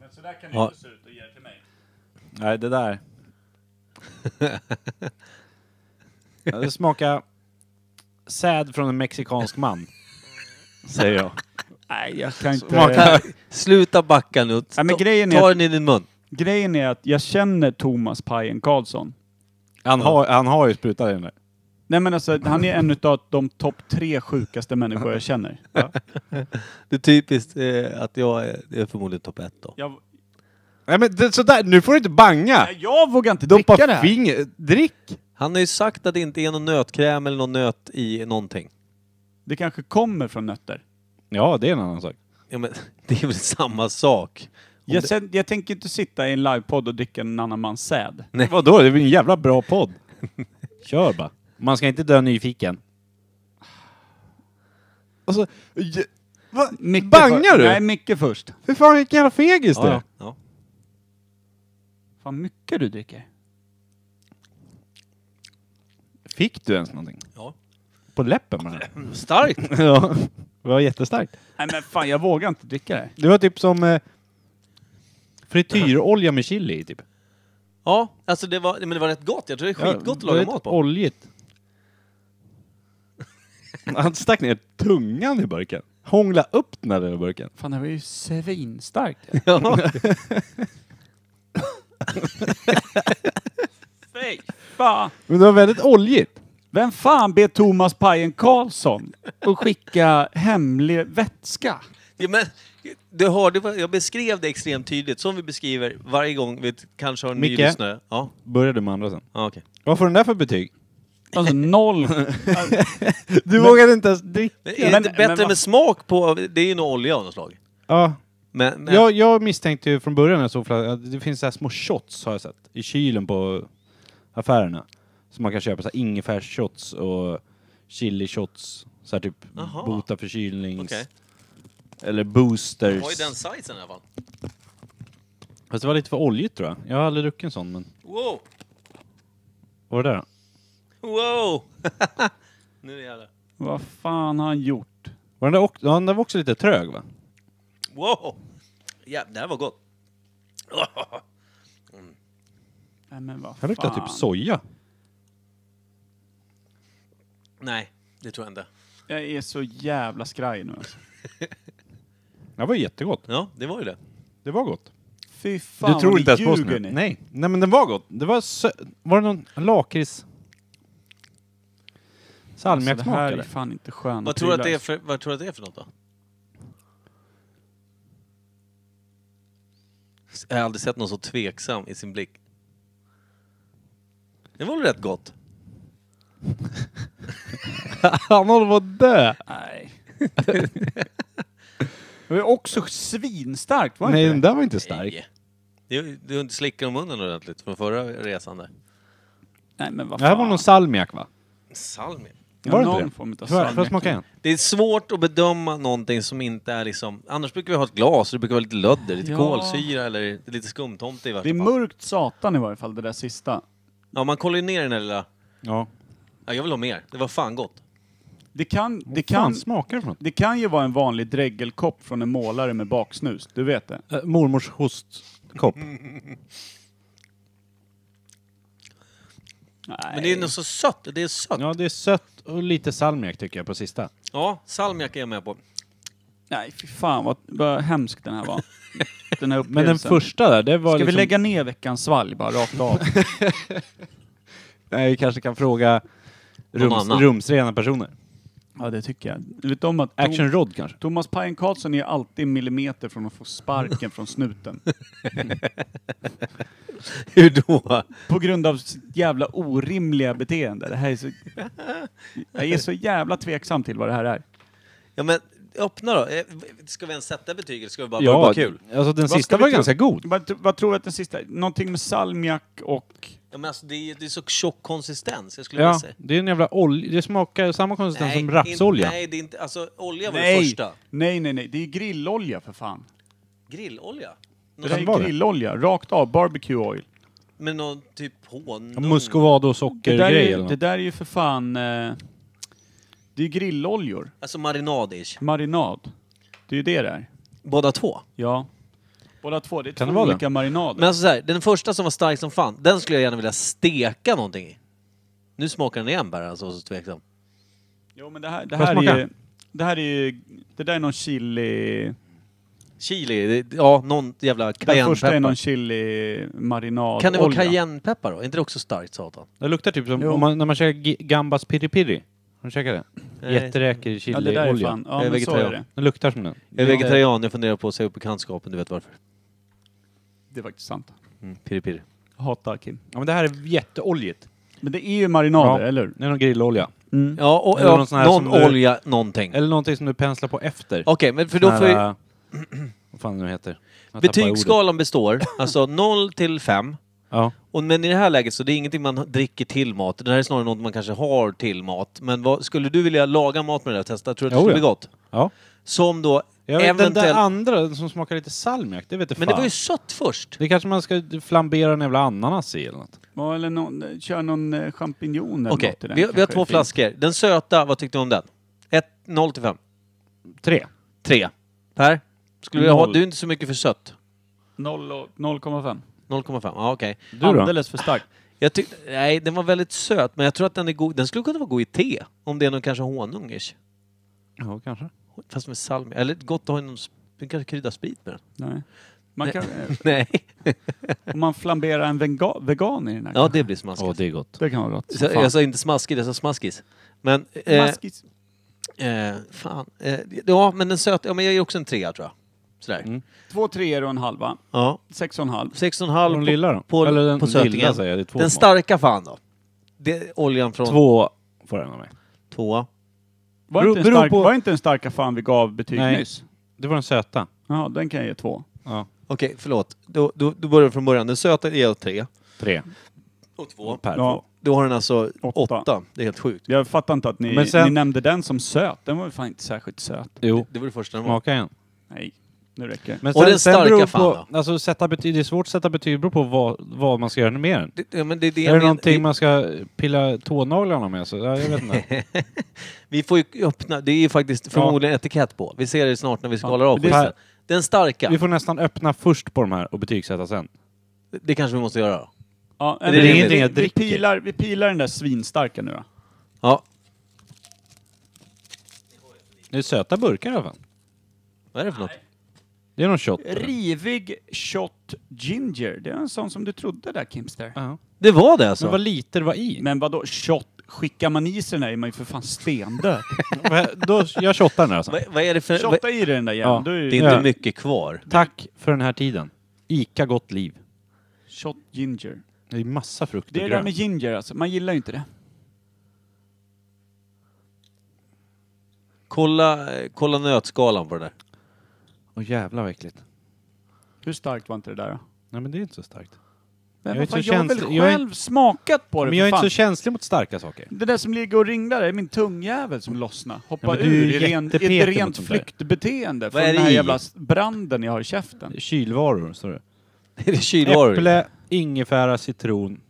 S3: Men sådär kan det
S1: Ja.
S3: inte se ut och ge det till mig.
S6: Nej, det där. Ja, det smakar säd från en mexikansk man. Säger jag.
S3: Nej, jag kan inte...
S1: Sluta backa nu.
S3: Ja, men
S1: Ta-
S3: grejen är
S1: Ta
S3: att-
S1: den i din mun.
S3: Grejen är att jag känner Thomas Pajen Karlsson.
S6: Han har, han har ju sprutat i den där.
S3: Nej men alltså, han är en utav de topp tre sjukaste människor jag känner.
S1: Det är typiskt eh, att jag är, det är förmodligen topp ett då.
S3: Jag,
S6: Nej men det, sådär, nu får du inte banga!
S3: Nej, jag vågar inte dricka det
S6: Doppa
S3: här.
S6: fingret, drick!
S1: Han har ju sagt att det inte är någon nötkräm eller någon nöt i någonting.
S3: Det kanske kommer från nötter.
S6: Ja, det är en annan sak.
S1: Ja, men, det är väl samma sak? Om
S3: Jag, sen, jag tänker inte sitta i en livepodd och dricka en annan mans säd.
S1: Nej.
S6: Vadå, det är väl en jävla bra podd. Kör bara. Man ska inte dö nyfiken. Alltså, j- va?
S3: Micke
S6: Bangar
S3: för,
S6: du?
S3: Nej, Micke först.
S6: Fy fan vilken jävla fegis
S1: Ja,
S6: du
S1: ja.
S6: är.
S1: ja.
S3: Fan mycket du dricker.
S6: Fick du ens någonting?
S1: Ja.
S6: På läppen bara?
S1: Starkt!
S6: ja. Det var jättestarkt.
S3: Nej men fan, jag vågar inte dricka det.
S6: Det var typ som eh, Frityrolja med chili i, typ.
S1: Ja, alltså det var, men det var rätt gott. Jag tror det är skitgott att laga
S6: väldigt
S1: mat på.
S6: Oljigt. Han stack ner tungan i burken. Hångla upp den här lilla burken.
S3: Fan, det var ju svinstarkt.
S1: Ja.
S3: Fy fan!
S6: Men det var väldigt oljigt.
S3: Vem fan ber Thomas Pajen Karlsson att skicka hemlig vätska?
S1: Ja, men, du hörde, vad- jag beskrev det extremt tydligt, som vi beskriver varje gång vi t- kanske har en ny
S6: Micke?
S1: lyssnare. Ja,
S6: Började med andra sen.
S1: ja okej.
S6: Vad får den där för betyg?
S3: Alltså noll.
S6: Du vågade inte ens dricka.
S1: Men Är
S3: Men-
S1: det inte bättre
S3: men vad-
S1: med smak på, det är ju nog olja av något slag.
S6: Ja,
S1: Men, men,
S6: jag, jag misstänkte ju från början när jag såg flas- att det finns så här små shots har jag sett i kylen på affärerna. Som man kan köpa så här ingefärshots och chili shots. Så här typ
S1: Jaha.
S6: bota förkylnings...
S1: Okej.
S6: Eller boosters.
S1: Det var ju den sizen i alla fall.
S6: Fast det var lite för oljigt tror jag. Jag har aldrig druckit en sån men...
S1: Wow!
S6: Vad var det där då?
S1: Wow! nu jävlar.
S3: Vad fan har han gjort?
S6: Var den, där också, ja, den där var också lite trög va?
S1: Wow! Ja, det här var gott.
S3: Nej, men vad
S6: Den luktar typ
S3: fan.
S6: soja.
S1: Nej, det tror jag inte.
S3: Jag är så jävla skraj nu alltså.
S6: Det var jättegott.
S1: Ja, det var ju det.
S6: Det var gott.
S3: Fy fan
S6: du tror
S3: vad
S6: inte ens
S3: ni
S6: på oss
S3: ljuger
S6: nu?
S3: ni. Alltså,
S6: Nej. Nej men den var gott. Det var sö- Var det någon lakrits...
S3: Alltså, det
S6: Salmiaksmak
S3: här är
S6: eller?
S3: fan inte skönt.
S1: Vad tror, du att det är för, vad tror du att det är för något då? Jag har aldrig sett någon så tveksam i sin blick. Det var väl rätt gott?
S6: Han håller på att dö!
S3: Nej. det var också svinstarkt, var det
S6: Nej
S3: inte
S6: den
S3: det?
S6: där var inte stark.
S1: Nej. Du, du har inte slickat om munnen ordentligt från förra resan där.
S3: Nej, men vad
S6: Det här var någon salmiak va?
S1: Salmi.
S3: Ja,
S6: var det inte
S3: någon
S6: det?
S3: form av
S6: Får jag- får jag
S3: salmiak.
S6: smaka igen?
S1: Det är svårt att bedöma någonting som inte är liksom... Annars brukar vi ha ett glas, det brukar vara lite lödder, lite
S3: Ja.
S1: kolsyra eller lite skumtomte i
S3: Det är
S1: värsta fall.
S3: mörkt satan i varje fall, det där sista.
S1: Ja, man kollar ju ner den där lilla...
S6: Ja.
S1: Ja, jag vill ha mer. Det var fan gott.
S3: Det kan, det
S6: Det kan...
S3: kan,
S6: fan smakar det för något?
S3: det kan ju vara en vanlig dregelkopp från en målare med baksnus, du vet det.
S6: Eh, mormors hostkopp.
S3: Nej.
S1: Men det är något så sött. Det är sött.
S6: Ja det är sött och lite salmiak tycker jag på sista.
S1: Ja, salmiak är jag med på.
S3: Nej, fy fan vad, vad hemsk den här var. Den här
S6: Men den
S3: upplevelsen.
S6: första där, det var
S3: Ska
S6: liksom...
S3: vi lägga ner veckans svalg bara rakt av?
S6: Nej, vi kanske kan fråga rums,
S1: annan.
S6: rumsrena personer.
S3: ja, det tycker jag. Du vet om att
S6: Action Rod kanske?
S3: Thomas Pajen Karlsson är alltid en millimeter från att få sparken från snuten.
S1: Hur då?
S3: På grund av sitt jävla orimliga beteende. Det här är så... Jag är så jävla tveksam till vad det här är.
S1: Ja, men öppna då. Eh, Ska vi ens sätta betyg eller ska vi bara ja, vara kul?
S6: Alltså den
S3: ska
S6: sista
S3: vi
S6: var
S3: tro?
S6: ganska god.
S3: Vad, tr- vad tror du att den sista... Någonting med salmiak och...
S1: Ja, men alltså, det, är, det är så tjock konsistens. Jag skulle vilja
S6: Ja,
S1: säga.
S6: det är en jävla olja. Det smakar samma konsistens som rapsolja.
S1: In, nej, det är inte... Alltså, olja var det
S3: Nej!
S1: första.
S3: Nej, nej, nej. Det är grillolja för fan.
S1: Grillolja?
S3: Det
S1: Någon,
S3: där
S6: kan vara
S3: är
S6: det.
S3: grillolja, rakt av. Barbecue oil.
S1: Med någon typ honung?
S6: Muscovado
S3: Det där,
S6: sockergrej
S3: är,
S6: eller
S3: det
S6: något.
S3: där är ju för fan... Eh, det är grilloljor.
S1: Alltså marinadish.
S3: Marinad. Det är ju det där.
S1: Båda två.
S3: Ja. Båda två. Det är
S6: Kan
S3: två
S6: det vara det?
S3: olika marinader.
S1: Men alltså så här, den första som var stark som fan, den skulle jag gärna vilja steka någonting i. Nu smakar den igen bara, alltså, så tveksam.
S3: Jo, men det här, det
S6: Får jag
S3: här är
S6: smaka?
S3: ju... Det här är ju... Det där är någon chili...
S1: Chili, det, ja, någon jävla
S3: Den första är
S1: cayennepeppar.
S3: någon chili marinad
S1: Kan det vara
S3: olja.
S1: cayennepeppar då? Är inte det också starkt, satan?
S6: Det luktar typ som
S3: Jo.
S6: om man, när man käkar gi- Gambas piri piri. Har du käkat det?
S1: Nej.
S6: Jätteräkor,
S3: Ja, det där är
S6: chiliolja.
S3: fan... Ja,
S1: Jag är
S3: men så är
S1: vegetarian.
S3: det.
S6: Den luktar som den.
S1: Jag är
S3: Ja.
S1: vegetarian, jag funderar på att säga upp bekantskapen, du vet varför.
S3: Det är faktiskt sant.
S1: Mm, pirri pirri.
S3: Jag hatar Kim.
S6: Ja men det här är jätteoljigt.
S3: Men det är ju marinader,
S6: Ja.
S3: eller hur?
S6: Det är någon grillolja.
S1: Ja, och, ja,
S6: Eller någon
S1: någon,
S6: sån här som du-
S1: olja, någonting. Okej,
S6: Eller någonting som du penslar på efter.
S1: men för då får ju...
S6: Nära- Vad fan det nu heter. Jag äh, tappar ordet.
S1: Betygsskalan består, alltså 0 till 5.
S6: Ja.
S1: Och, men i det här läget så det är ingenting man dricker till mat. Det här är snarare något man kanske har till mat. Men vad, skulle du vilja laga mat med det där och testa? Tror du att det
S6: Jo,
S1: skulle
S6: ja.
S1: bli gott?
S6: ja.
S1: Som då
S6: Jag vet, Den där
S1: eventuellt...
S6: andra som smakar lite salmiak, det vet jag
S1: Men det var ju sött först.
S6: Det kanske man ska flambera en jävla ananas i eller något.
S3: Ja, eller någon, kör någon eh, champinjon eller
S1: Okej,
S3: något i den
S1: vi, vi har
S3: kanske.
S1: två flaskor. Den söta, vad tyckte du om den? 1, 0 till 5?
S6: Tre.
S1: 3. Per? Skulle du ha,
S6: Noll.
S1: du är inte så mycket för sött.
S3: Noll och- 0,5.
S1: 0,5. Ja, okej.
S6: Du
S3: Alldeles för starkt.
S1: Jag tyckte, nej, den var väldigt söt, men jag tror att den är god. Den skulle kunna vara god i te. Om det är någon kanske honungish.
S6: Ja, kanske.
S1: Fast med salmi. Eller gott att ha i någon, sp- man kanske krydda sprit med den.
S3: Nej. Man kan, eh,
S1: Nej.
S3: om man flamberar en venga, vegan i den här.
S1: Ja, det blir smaskigt.
S6: Åh, det är gott.
S3: det kan vara gott.
S1: Så,
S3: Fan.
S1: jag sa inte smaskigt, jag sa smaskis. Men... Eh,
S3: Maskis.
S1: eh, fan. Eh, ja, men den söta... Ja, men jag ger också en trea, tror jag. Sådär.
S6: Mm.
S3: Två treor och en halva.
S1: Ja.
S3: Sex och en halv.
S1: Sex och en
S6: På
S1: halv
S6: den
S1: på,
S6: lilla då?
S1: på,
S6: Eller den
S1: på
S6: lilla
S1: sötingen.
S6: säger jag, det är två
S1: den
S6: smak.
S1: starka fan då. Det, oljan från...
S6: Två får den av mig.
S1: Tvåa.
S3: Var,
S6: Bero-
S3: inte, en
S6: beror
S3: stark,
S6: på-
S3: var inte en starka fan vi gav betyg
S6: Nej.
S3: nyss?
S6: Det var den söta.
S3: Ja, den kan jag ge två.
S6: Ja.
S1: Okej, förlåt. Då, då, då börjar vi från början. Den söta ger jag tre.
S6: Tre.
S1: Och två.
S6: Per
S3: Ja,
S1: Då har den alltså åtta.
S3: Åtta.
S1: Det är helt sjukt.
S3: jag fattar inte att ni,
S6: Men sen-
S3: ni nämnde den som söt. Den var ju fan inte särskilt söt.
S6: två. Jo,
S1: Det var det första den var.
S6: smaka igen.
S3: Nej, nu räcker det.
S6: Men
S1: Och den starka
S6: beror
S1: fan
S6: på, alltså, sätta betyg, Det är svårt att sätta betyg, det beror på vad, vad man ska göra med den.
S1: Det, ja, men det, är det
S6: är
S1: jag
S6: det
S1: men-
S6: någonting
S1: vi,
S6: man ska pilla tånaglarna med? Så, ja, jag vet inte.
S1: vi får ju öppna. Det är ju faktiskt förmodligen etikett på. Vi ser det snart när vi skalar av
S6: det-
S1: skiten. Den starka.
S6: Vi får nästan öppna först på de här och betygsätta sen.
S1: Det kanske vi måste göra då.
S3: Ja,
S1: det är
S3: vi-
S1: ingenting
S6: jag
S3: vi, vi,
S6: dricker.
S3: pilar, vi pilar den där svinstarka nu då.
S1: Ja.
S6: Det är söta burkar i alla fall.
S1: Vad är det för något?
S6: Det är någon shot.
S3: Rivig shot ginger. Det är en sån som du trodde där, Kimster.
S6: Ja.
S1: Det var det alltså?
S6: Men vad lite det var i.
S3: Men vadå shot? Skickar man i sig den där är man ju för fan stendöd.
S6: Då, jag shottar den här alltså.
S1: Vad, vad är det för... Vad,
S3: Shotta i dig den där jäveln.
S6: Ja,
S3: då är
S1: det är
S3: ju
S1: inte
S6: Ja.
S1: mycket kvar.
S6: Tack för den här tiden. Ica Gott Liv.
S3: Shot ginger.
S6: Det är massa frukt och
S3: Det är det där
S6: grönt.
S3: med ginger alltså. Man gillar ju inte det.
S1: Kolla, eh, kolla nötskalan på det där.
S6: Åh jävlar vad äckligt.
S3: Hur starkt var inte det där då?
S6: Nej men det är inte så starkt.
S3: Men
S6: Jag är
S3: vad
S6: inte
S3: fan,
S6: så
S3: jag har väl
S6: känslig- jag är-
S3: själv smakat på det
S6: Men jag är
S3: för
S6: inte så
S3: fan.
S6: känslig mot starka saker.
S3: Det där som ligger och ringlar det är min tungjävel som lossnar. Hoppar
S6: Ja, men du är
S3: ur
S6: ju
S3: i ren, ett
S6: jättepetig mot
S3: rent
S6: sånt där.
S3: flyktbeteende från
S1: är
S3: den
S1: det
S3: här
S1: i?
S3: jävla s- branden jag har i käften.
S6: Kylvaror står det.
S1: Är det kylvaror?
S6: Äpple, ingefära, citron,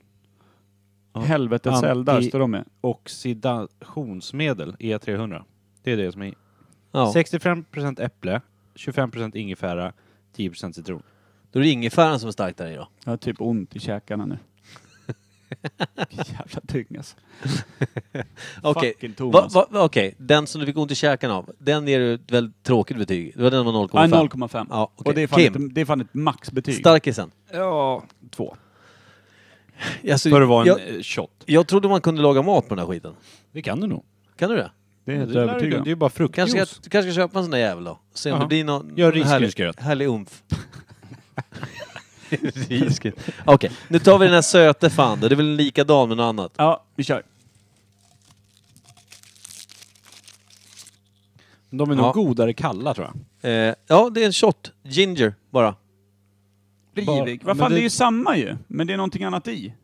S6: Ja.
S3: Helvetes
S6: Anti-
S3: eldar står de med.
S6: oxidationsmedel, E300. E Det är det som är i.
S1: Ja.
S6: 65% äpple, 25% ingefära, 10% citron.
S1: Då är det ingefäran som är stark där i då.
S3: Jag har typ ont i käkarna nu. Jävla tyng alltså.
S1: Okej.
S3: Fucking
S1: Va,
S3: alltså. Thomas.
S1: va,
S6: alltså-
S1: va- okej. Den som du fick ont i käken av, den ger du ett väldigt tråkigt betyg. Det var den var 0,5.
S3: Nej, 0,5.
S1: Ja, okej.
S3: Och det är, fan
S1: Kim.
S3: ett, det är fan ett maxbetyg.
S1: Starkisen.
S6: Ja, två.
S1: Alltså,
S6: För att vara en
S1: jag,
S6: eh, shot.
S1: jag trodde man kunde laga mat på den här skiten.
S6: Det kan du nog.
S1: Kan du det?
S3: det är
S6: Det
S3: helt
S6: lär du kunna.
S3: övertygande.
S6: Det är ju bara
S1: Kanske
S6: fruktjuice.
S1: ska, du kanske ska köpa en sån där jävel då? Se om
S6: Jaha.
S1: det blir någon
S6: Gör
S1: någon härlig,
S6: risgrynsgröt.
S1: härlig umf. Risgryns. Okej, nu tar vi den här söte fan då. Det är väl en likadan med något annat.
S3: Ja, vi kör.
S6: De är
S1: Ja.
S6: nog godare kalla tror jag.
S1: Eh, ja, det är en shot. Ginger bara.
S3: Rivig.
S6: Men
S3: Vad fan,
S6: det-
S3: det är ju samma ju. Men det är någonting annat i.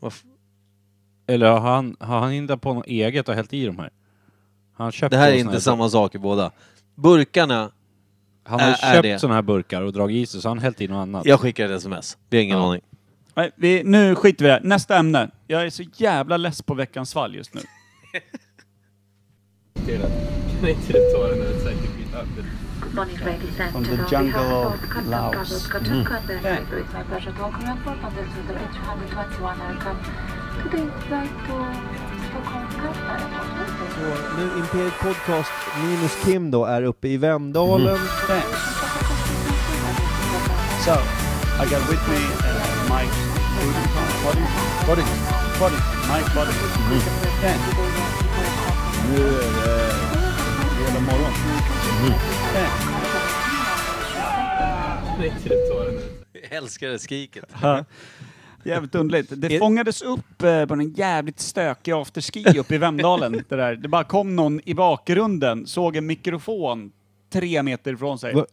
S1: Vad f-
S6: Eller har han, har han hittat på något eget och hällt i de här? Han har köpt
S1: Det här är
S6: någon sån
S1: inte
S6: här-
S1: samma sak i båda. Burkarna,
S6: Han har
S1: Ä- är det.
S6: köpt sådana här burkar och dragit i sig, så han har hällt i något annat.
S1: jag skickar ett sms. Vi har ingen
S6: Ja.
S1: aning.
S3: Nej, vi, nu skiter vi i det här. Nästa ämne. Jag är så jävla less på veckans fall just nu.
S7: From the jungle of Laos. Mm.
S8: Och nu Imperiet Podcast minus Kim då är uppe i Vemdalen.
S2: Mm.
S7: So, I got with me uh, my body, body, body, my body. Nu är det fredag morgon.
S1: Jag älskar det skriket.
S3: Jävligt underligt. Det
S1: Är-
S3: fångades upp eh, på en jävligt stökig afterski uppe i Vemdalen. det, där. det bara kom någon i bakgrunden, såg en mikrofon tre meter ifrån sig.
S2: Va-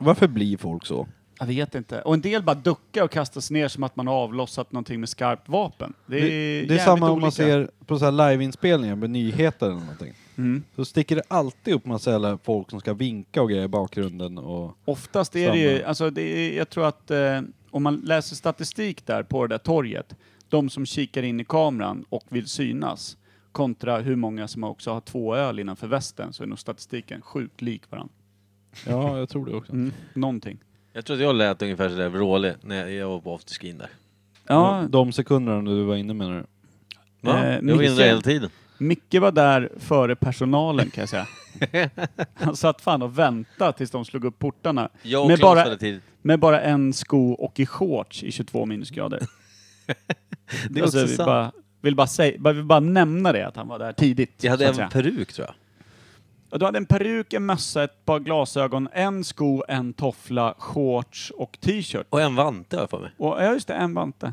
S2: Varför blir folk så?
S3: Jag vet inte. Och en del bara duckar och kastar sig ner som att man har avlossat någonting med skarpt vapen. Det är,
S2: Det, det är
S3: jävligt
S2: samma om man
S3: olika.
S2: ser på så här liveinspelningar med nyheter eller någonting.
S3: Mm.
S2: Så sticker det alltid upp massa jävla folk som ska vinka och grejer i bakgrunden och...
S3: Oftast är det ju,
S2: Samma.
S3: alltså det är, jag tror att eh, om man läser statistik där på det där torget, de som kikar in i kameran och vill synas, kontra hur många som också har två öl innanför västen, så är nog statistiken sjukt lik varandra.
S2: Ja, jag tror det också.
S3: Någonting.
S1: Jag tror att jag lät ungefär sådär vrålig när jag- jag var på afterskin där.
S3: Ja,
S6: De sekunderna du var inne menar du?
S1: Va? jag
S3: Eh,
S1: var inne
S3: Micke.
S1: där hela tiden.
S3: Micke var där före personalen kan jag säga. Han satt fan och väntade tills de slog upp portarna.
S1: Jag och
S3: Men
S1: Claes
S3: bara-
S1: var där tidigt.
S3: Med bara en sko och i shorts i 22 minusgrader.
S1: Det är
S3: Alltså,
S1: också
S3: vi
S1: sant.
S3: bara, vill bara, säga, bara, vill bara nämna det, att han var där tidigt.
S1: Jag hade
S3: så att säga.
S1: även peruk tror jag.
S3: Ja, Du hade en peruk, en mössa, ett par glasögon, en sko, en toffla, shorts och t-shirt.
S1: Och en vante har jag för mig.
S3: Och ja, just det, en vante.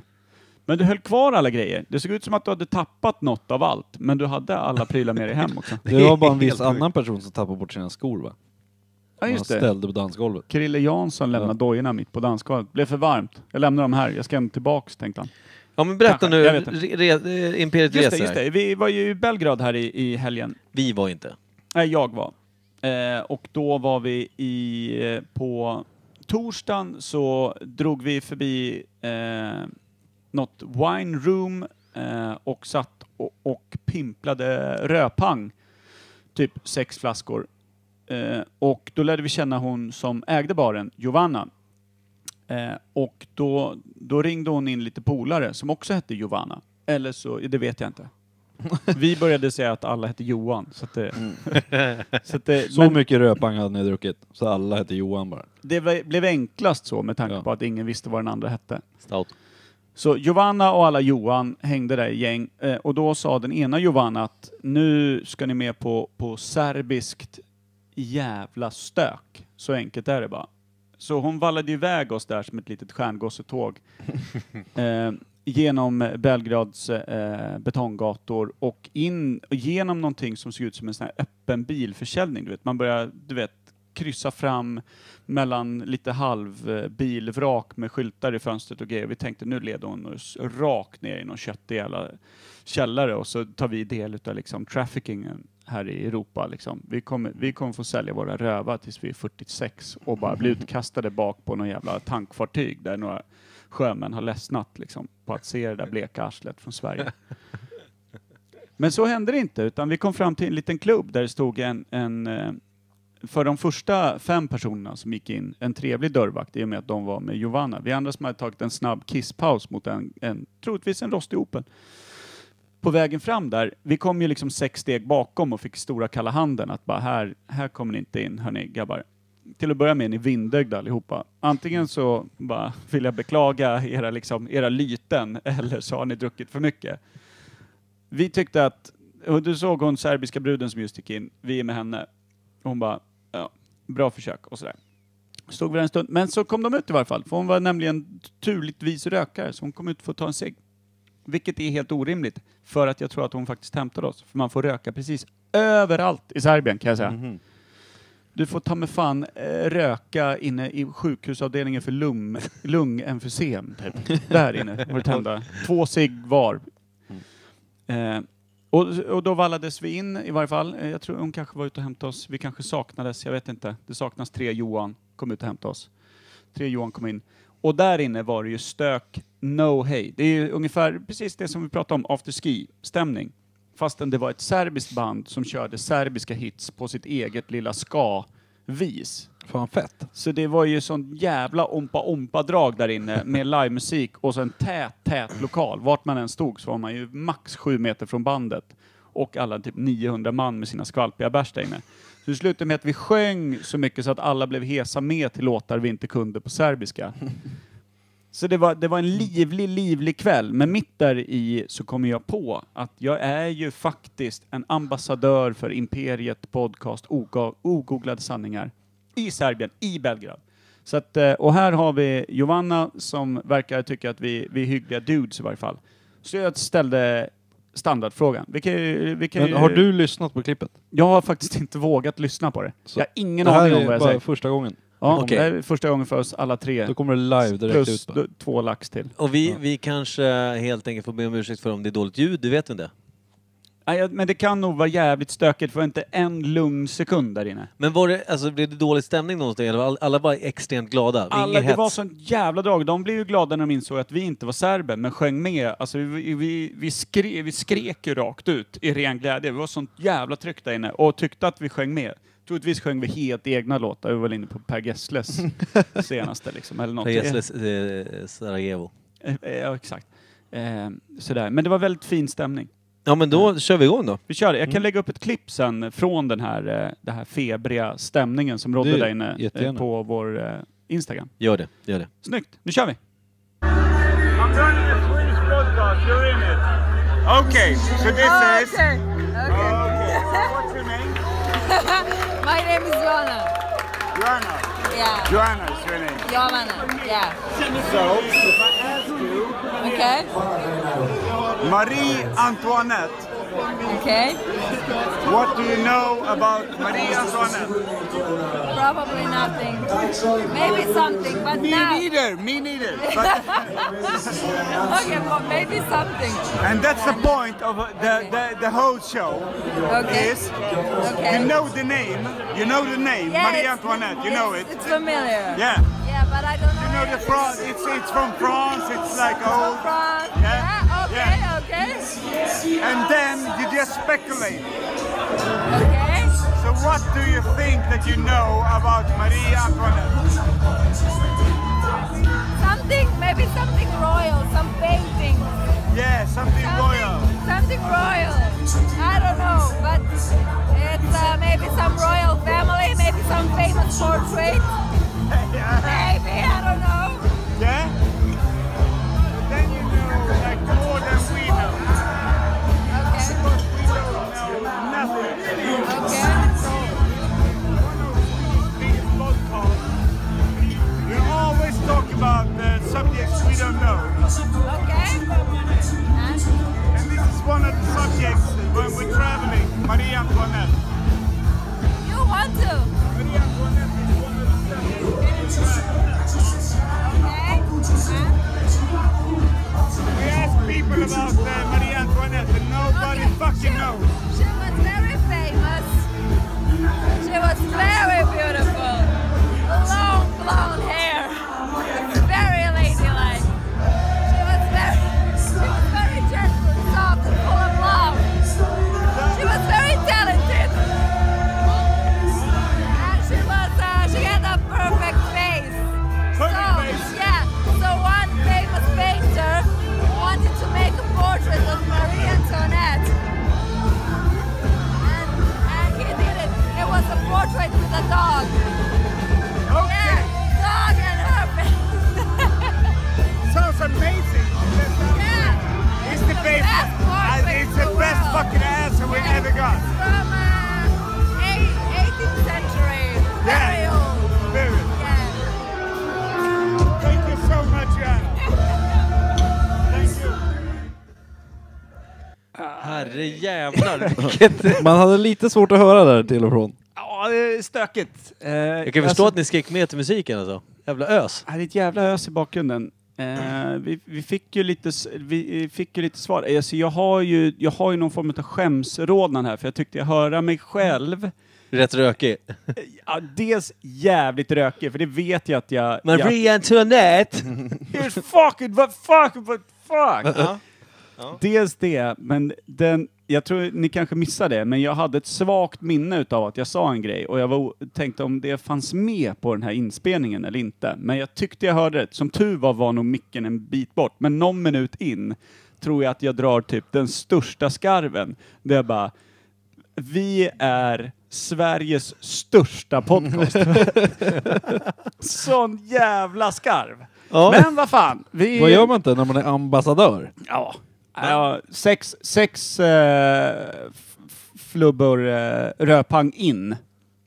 S3: Men du höll kvar alla grejer. Det såg ut som att du hade tappat något av allt, men du hade alla prylar med dig hem också.
S2: Det var bara en viss
S1: Helt
S2: annan person som tappade bort sina skor va?
S3: Ja,
S2: Han
S3: just det.
S2: ställde på dansgolvet.
S3: Krille Jansson lämnade dojorna mitt på dansgolvet. Blev för varmt. Jag lämnar dem här, jag ska hem tillbaks, tänkte han.
S1: Ja men berätta
S3: Kanske,
S1: nu,
S3: jag vet inte.
S1: re, re, eh, Imperiet
S3: Just det,
S1: Reser.
S3: just det. Vi var ju i Belgrad här i, i helgen.
S1: Vi var inte.
S3: Nej, jag var. Eh, och då var vi i, eh, på torsdagen så drog vi förbi eh, något wine room eh, och satt och, och pimplade röpang. Typ sex flaskor. Eh, och då lärde vi känna hon som ägde baren, Giovanna. Eh, och då, då ringde hon in lite polare som också hette Giovanna. Eller så, det vet jag inte. Vi började säga att alla hette Johan. Så att det, så att det,
S2: Så
S3: men
S2: mycket röpang hade ni druckit, så alla hette Johan bara.
S3: det var- blev enklast så med tanke
S2: Ja.
S3: på att ingen visste vad den andra hette.
S1: Stout.
S3: Så Giovanna och alla Johan hängde där i gäng eh, och då sa den ena Giovanna att nu ska ni med på, på serbiskt jävla stök. Så enkelt är det bara. Så hon vallade iväg oss där som ett litet stjärngossetåg eh, genom Belgrads eh, betonggator och in och genom någonting som såg ut som en sån här öppen bilförsäljning. Du vet. Man börjar du vet, kryssa fram mellan lite halv eh, bilvrak med skyltar i fönstret och grejer. Vi tänkte nu leder hon oss rakt ner i någon köttig jävla källare och så tar vi del av liksom traffickingen här i Europa. Liksom. Vi, kommer, vi kommer få sälja våra rövar tills vi är 46 och bara bli utkastade bak på någon jävla tankfartyg där några sjömän har ledsnat liksom, på att se det där bleka arslet från Sverige. Men så hände det inte, utan vi kom fram till en liten klubb där det stod en, en eh, för de första fem personerna som gick in, en trevlig dörrvakt i och med att de var med Giovanna. Vi andra som hade tagit en snabb kisspaus mot en, en troligtvis en rostig Opel. På vägen fram där, vi kom ju liksom sex steg bakom och fick stora kalla handen att bara här, här kommer ni inte in hörni grabbar. Till att börja med är ni vindögda allihopa. Antingen så bara vill jag beklaga era, liksom, era lyten eller så har ni druckit för mycket. Vi tyckte att, och du såg hon serbiska bruden som just gick in, vi är med henne. Och hon bara, ja, bra försök och sådär. Stod vi där en stund, men så kom de ut i varje fall, för hon var nämligen turligtvis rökare, så hon kom ut för att ta en cigg. Vilket är helt orimligt, för att jag tror att hon faktiskt hämtade oss. För man får röka precis överallt i Serbien kan jag
S6: Mm.
S3: säga. Du får ta med fan eh, röka inne i sjukhusavdelningen för lung, lungemfysem. Typ. Där inne får du tända. Två cigg var. Eh, och, och då vallades vi in i varje fall. Eh, Jag tror hon kanske var ute och hämtade oss. Vi kanske saknades, jag vet inte. Det saknas tre Johan. Kom ut och hämta oss. Tre Johan kom in. Och där inne var det ju stök, no hey. Det är ju ungefär precis det som vi pratade om, afterski-stämning. Fastän det var ett serbiskt band som körde serbiska hits på sitt eget lilla ska-vis.
S2: Fan fett.
S3: Så det var ju sån jävla ompa-ompa-drag där inne med livemusik och så en tät, tät lokal. Vart man än stod så var man ju max sju meter från bandet och alla typ 900 man med sina skvalpiga bärs där inne. Så det slutade med att vi sjöng så mycket så att alla blev hesa med till låtar vi inte kunde på serbiska. Så det var, det var en livlig, livlig kväll. Men mitt där i så kom jag på att jag är ju faktiskt en ambassadör för Imperiet Podcast Oga- Ogooglade sanningar i Serbien, i Belgrad. Så att, eh, och här har vi Giovanna som verkar tycka att vi, vi är hyggliga dudes i varje fall. Så jag ställde standardfrågan. Vi kan, ju- vi kan
S2: Men
S3: ju-
S2: har du lyssnat på klippet?
S3: Jag har faktiskt inte vågat lyssna på det.
S2: Så
S3: jag har ingen
S2: det här
S3: aning om vad
S2: är
S3: jag
S2: bara
S3: säger.
S2: första gången.
S3: Ja,
S1: Okej.
S3: Det här är första gången för oss alla tre.
S2: Då kommer det live direkt
S3: Plus
S2: ut. bara.
S3: d- två lax till.
S1: Och vi, vi kanske helt enkelt får be om ursäkt för om det är dåligt ljud, det vet vi inte.
S3: Nej, jag- men det kan nog vara jävligt stökigt för det var inte en lugn sekund där inne.
S1: Men var det, alltså, blev det dålig stämning någonstans? Eller var alla bara extremt glada?
S3: Alla,
S1: Ingen
S3: det var
S1: hets?
S3: sånt jävla drag. De blev ju glada när de insåg att vi inte var serber, men sjöng med. Alltså, vi, vi, vi, skre, vi skrek ju rakt ut i ren glädje. Vi var sånt jävla tryck där inne och tyckte att vi sjöng med. Troligtvis sjöng vi helt egna låtar. Vi var väl inne på Per Gessles senaste liksom, eller något.
S1: Per Gessles eh, Sarajevo.
S3: Eh, eh, Ja, exakt. Eh, sådär. Men det var väldigt fin stämning.
S1: Ja men då kör vi igång då.
S3: Vi kör. Jag kan
S2: Mm.
S3: lägga upp ett klipp sen från den här, eh, den här febriga stämningen som rådde
S2: Det-
S3: där inne eh,
S2: jättegärna.
S3: på vår eh, Instagram.
S1: Gör det, gör det.
S3: Snyggt, nu kör vi!
S9: I'm running a Swedish podcast. You're in it. Okay. So this is.
S10: Oh, Okay.
S9: Okay. What's your name?
S10: My name is Joanna.
S9: Joanna.
S10: Yeah.
S9: Joanna is your name.
S10: Joanna. Yeah.
S9: So if I ask you,
S10: Okay.
S9: Marie Antoinette,
S10: Okay.
S9: what do you know about Marie Antoinette?
S10: Probably nothing. Maybe something, but
S9: Me
S10: now.
S9: neither. Me neither. But,
S10: Okay, but maybe something.
S9: and that's the point of the the, the whole show.
S10: Okay.
S9: Is
S10: Okay.
S9: you know the name? You know the name
S10: Yeah,
S9: Marie
S10: it's-
S9: Antoinette. You know it.
S10: It's, it's familiar.
S9: Yeah.
S10: Yeah, but I don't know.
S9: You know the France. It's it's from France. It's like old.
S10: France.
S9: Yeah,
S10: Yeah. Okay.
S9: yeah.
S10: Okay.
S9: And then you just speculate.
S10: Okay.
S9: So what do you think that you know about Marie Antoinette?
S10: Something. Maybe something royal. Some painting.
S9: Yeah, something royal.
S10: Something, something royal. I don't know, but it's uh, maybe some royal family, maybe some famous portrait.
S9: yeah.
S10: Maybe, I don't know.
S9: yeah? But Then you know like more than we know.
S10: Okay,
S9: Because we don't know nothing.
S10: okay.
S9: Big podcast. We always talk about the subjects we don't know.
S10: Okay. And-
S9: And this is one of the subjects when we're traveling, Marie Antoinette.
S10: You want to?
S9: Marie Antoinette is one of the subjects we don't
S10: Okay. And-
S9: We ask people about uh, Marie Antoinette and nobody
S10: okay.
S9: fucking
S10: She-
S9: knows.
S10: She was very famous. She was very beautiful. Long blonde hair. Very ladylike. She was very, she was very gentle, soft, and full of love. She was very talented. And she was, uh, she had a perfect face. so,
S9: Perfect face.
S10: yeah. So one famous painter wanted to make a portrait of Marie Antoinette. And, and he did it. It was a portrait with a dog. Yeah, dog and her
S9: Sounds amazing.
S10: Yeah.
S9: It's the best.
S10: best
S9: I-
S10: portrait
S9: It's
S10: in
S9: the best
S10: world.
S9: fucking answer we
S10: Yeah.
S9: ever got.
S10: From uh, eight- 18th century. Very
S9: Yeah.
S10: old.
S9: Very.
S10: Yeah.
S9: Thank you so much, Joanna. Thank you.
S1: Herre jävlar vilket...
S2: Man hade lite svårt att höra där till och från.
S3: Ja, det är stökigt. Eh,
S1: Jag kan förstå att ni skrek med till musiken alltså. Jävla ös.
S3: Ja, det är ett jävla ös i bakgrunden. Eh, vi, vi, fick ju lite, s- vi eh, fick ju lite svar. Eh, Alltså, jag, har ju, jag har ju någon form av skämsrodnad här, för jag tyckte jag hörde mig själv. Eh,
S1: Rätt rökig.
S3: Ja, dels jävligt rökig, för det vet jag att jag... jag
S1: Marie Antoinette!
S3: here's fucking, what fuck, what fuck! Dels det, men den, jag tror ni kanske missade det, men jag hade ett svagt minne utav att jag sa en grej och jag var, o- tänkte om det fanns med på den här inspelningen eller inte. Men jag tyckte jag hörde det. Som tur var var nog micken en bit bort, men någon minut in tror jag att jag drar typ den största skarven. Där jag bara, vi är Sveriges största podcast. Sån jävla skarv.
S2: Ja.
S3: Men vad fan. Vi...
S2: Vad gör man inte när man är ambassadör?
S3: Ja. ja sex sex eh, f- f- flubbor eh, röpang in.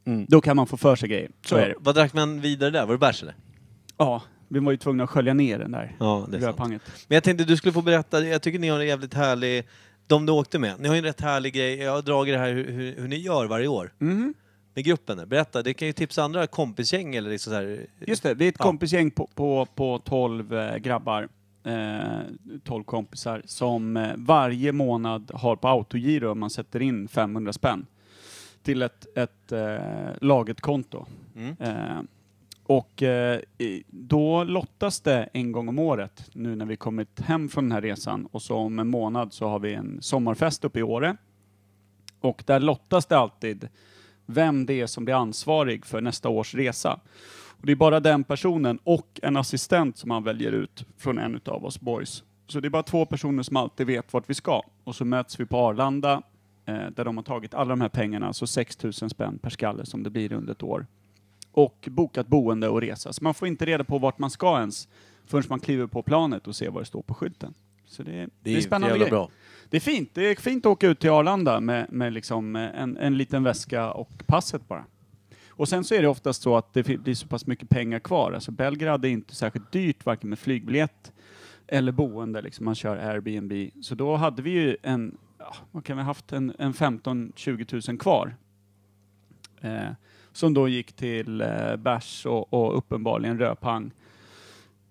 S1: Mm.
S3: Då kan man få för sig grejer. Så är det.
S1: Vad drack man vidare där? Var det bärs eller?
S3: Ja, vi var ju tvungna att skölja ner den där
S1: Ja, det är sant.
S3: röpanget.
S1: Men jag tänkte du skulle få berätta, jag tycker ni har en jävligt härlig, de du åkte med, ni har ju en rätt härlig grej, jag har dragit det här hur, hur, hur ni gör varje år.
S3: Mm-hmm.
S1: Med gruppen, där. berätta, det kan ju tipsa andra kompisgäng eller liksom så här.
S3: Just det, vi är ett
S1: Ja.
S3: kompisgäng på, på, på 12 eh, grabbar eh, 12 kompisar som eh, varje månad har på autogiro, man sätter in 500 spänn till ett, ett eh, Laget-konto.
S1: Mm.
S3: Eh, och eh, i- då lottas det en gång om året nu när vi kommit hem från den här resan och så om en månad så har vi en sommarfest uppe i Åre. Och där lottas det alltid vem det är som blir ansvarig för nästa års resa. Och det är bara den personen och en assistent som man väljer ut från en av oss boys. Så det är bara två personer som alltid vet vart vi ska. Och så möts vi på Arlanda eh, där de har tagit alla de här pengarna, alltså 6 000 spänn per skalle som det blir under ett år. Och bokat boende och resa. Så man får inte reda på vart man ska ens förrän man kliver på planet och ser vad det står på skylten. Så det,
S1: Det är
S3: spännande
S1: jävla
S3: grej.
S1: bra.
S3: Det är fint. Det är fint att åka ut till Arlanda med, med liksom eh, en, en liten väska och passet bara. Och sen så är det oftast så att det fi- blir så pass mycket pengar kvar. Alltså Belgrad är inte särskilt dyrt, varken med flygbiljett eller boende. Liksom man kör Airbnb. Så då hade vi ju en, ja, vad kan vi ha haft, en, en 15-20 000 kvar. Eh, som då gick till eh, bärs och, och uppenbarligen röpang.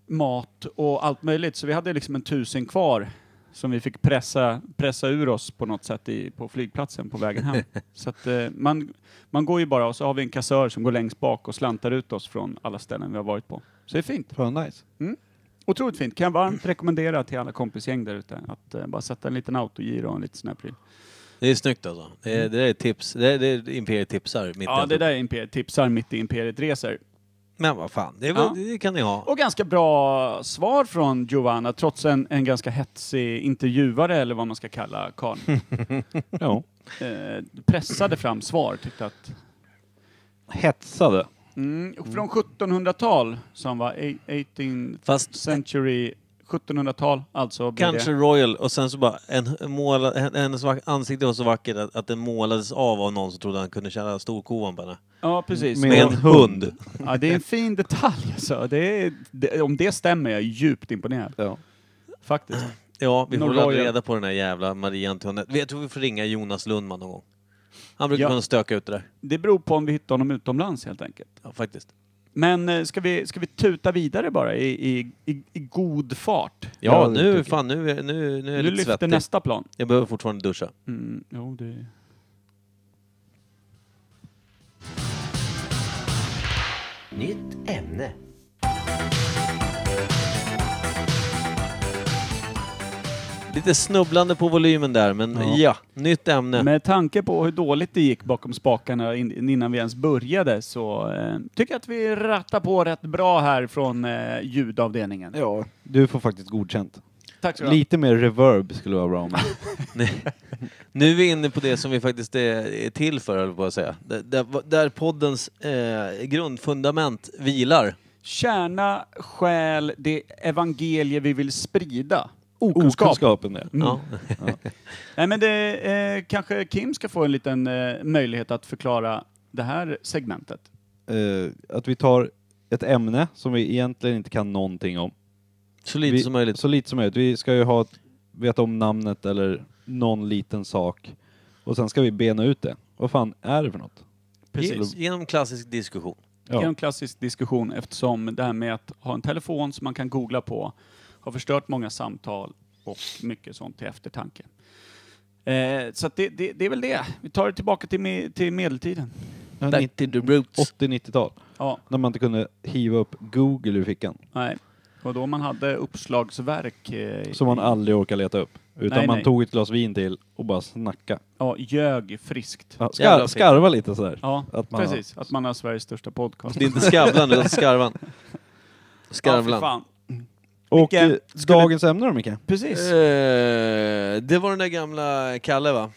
S3: Mat och allt möjligt. Så vi hade liksom en tusen kvar som vi fick pressa, pressa ur oss på något sätt i, på flygplatsen på vägen hem. så att, eh, man, man går ju bara och så har vi en kassör som går längst bak och slantar ut oss från alla ställen vi har varit på. Så det är fint.
S2: Fan nice.
S3: Otroligt fint. Kan jag varmt rekommendera till alla kompisgäng där ute att eh, bara sätta en liten autogiro och en liten sån här pryl.
S1: Det är snyggt alltså. Det, är- det där är tips. Det, är- det är Imperiet tipsar. Mitt i
S3: Mm. Ja,
S1: allt.
S3: det där är imperiet, tipsar mitt i Imperiet Reser.
S1: Men vad fan, det, var,
S3: Ja.
S1: det kan ni ha.
S3: Och ganska bra svar från Giovanna, trots en, en ganska hetsig intervjuare, eller vad man ska kalla karln.
S6: Ja.
S3: eh, pressade fram svar, tyckte att...
S6: Hetsade.
S3: Mm, och från 1700-tal, som var eight- 18th
S1: Fast
S3: century, 1700-tal alltså. blir
S1: kanske
S3: Det.
S1: Royal och sen så bara en måla, hen- hennes vack- ansikte var så vackert att, att den målades av av någon som trodde han kunde känna storkovan på henne.
S3: Ja, precis.
S1: Med en hund.
S3: Ja, det är en fin detalj alltså. Det är, det, om det stämmer jag är djupt imponerad.
S2: Ja.
S3: Faktiskt.
S1: Ja, vi får
S3: Någon
S1: väl aldrig
S3: Royal.
S1: reda på den här jävla Marie Antoinette. Jag tror vi får ringa Jonas Lundman någon gång. Han brukar
S3: Ja.
S1: kunna stöka ut det där.
S3: Det beror på om vi hittar honom utomlands helt enkelt.
S1: Ja, faktiskt.
S3: Men eh, ska vi, ska vi tuta vidare bara i, i, i, i god fart?
S1: Ja,
S2: Ja, det tycker
S1: nu,
S2: jag.
S1: fan, nu, är- nu, nu är jag
S3: Nu
S1: lite
S3: lyfter
S1: svettig.
S3: nästa plan.
S1: Jag behöver fortfarande duscha.
S3: Mm, jo, det...
S11: Nytt ämne.
S1: Lite snubblande på volymen där, men ja,
S3: Ja.
S1: nytt ämne.
S3: Med tanke på hur dåligt det gick bakom spakarna in, innan vi ens började så eh, tycker jag att vi rattar på rätt bra här från eh, ljudavdelningen.
S2: Ja, du får faktiskt godkänt.
S3: Tack så mycket.
S2: Lite mer reverb skulle vara bra om.
S1: Nu är vi inne på det som vi faktiskt är, är till för, höll jag på att säga. Där, där, där poddens eh, grundfundament vilar.
S3: Kärna, själ, det evangelie vi vill sprida. Okunskap.
S6: Okunskapen där.
S3: Mm.
S1: Ja.
S3: Nej, men det, eh, kanske Kim ska få en liten eh, möjlighet att förklara det här segmentet.
S2: Eh, att vi tar ett ämne som vi egentligen inte kan någonting om.
S1: Så lite
S2: vi,
S1: som möjligt.
S2: Så lite som möjligt. Vi ska ju ha ett, veta om namnet eller någon liten sak. Och sen ska vi bena ut det. Vad fan är det för något?
S1: Ge- Genom klassisk diskussion.
S3: Det är
S2: Ja.
S3: en klassisk diskussion eftersom det här med att ha en telefon som man kan googla på har förstört många samtal och mycket sånt till eftertanke. Eh, så att det, det, det är väl det. Vi tar det tillbaka till, me, till medeltiden.
S1: Back to the roots.
S2: 80-90-tal.
S3: Ja,
S2: När man inte kunde hiva upp Google ur fickan.
S3: nej. Och då man hade uppslagsverk. Eh,
S2: Som man aldrig orkar leta upp. Utan
S3: Nej,
S2: man
S3: nej.
S2: tog ett glas vin till och bara snacka.
S3: Ja, ljög friskt.
S2: Ja,
S1: Jävla
S2: skar,
S1: fint.
S2: skarva lite sådär.
S3: Ja,
S2: Att man-
S3: precis. Att man har Sveriges största podcast.
S1: Det är inte Skavlan, utan Skarvan.
S3: Ja, för
S1: Skarvlan.
S3: fan.
S2: Och
S3: Micke,
S2: eh, dagens ämne då Micke?
S3: Precis.
S1: Eh, det var den där gamla Kalle, va?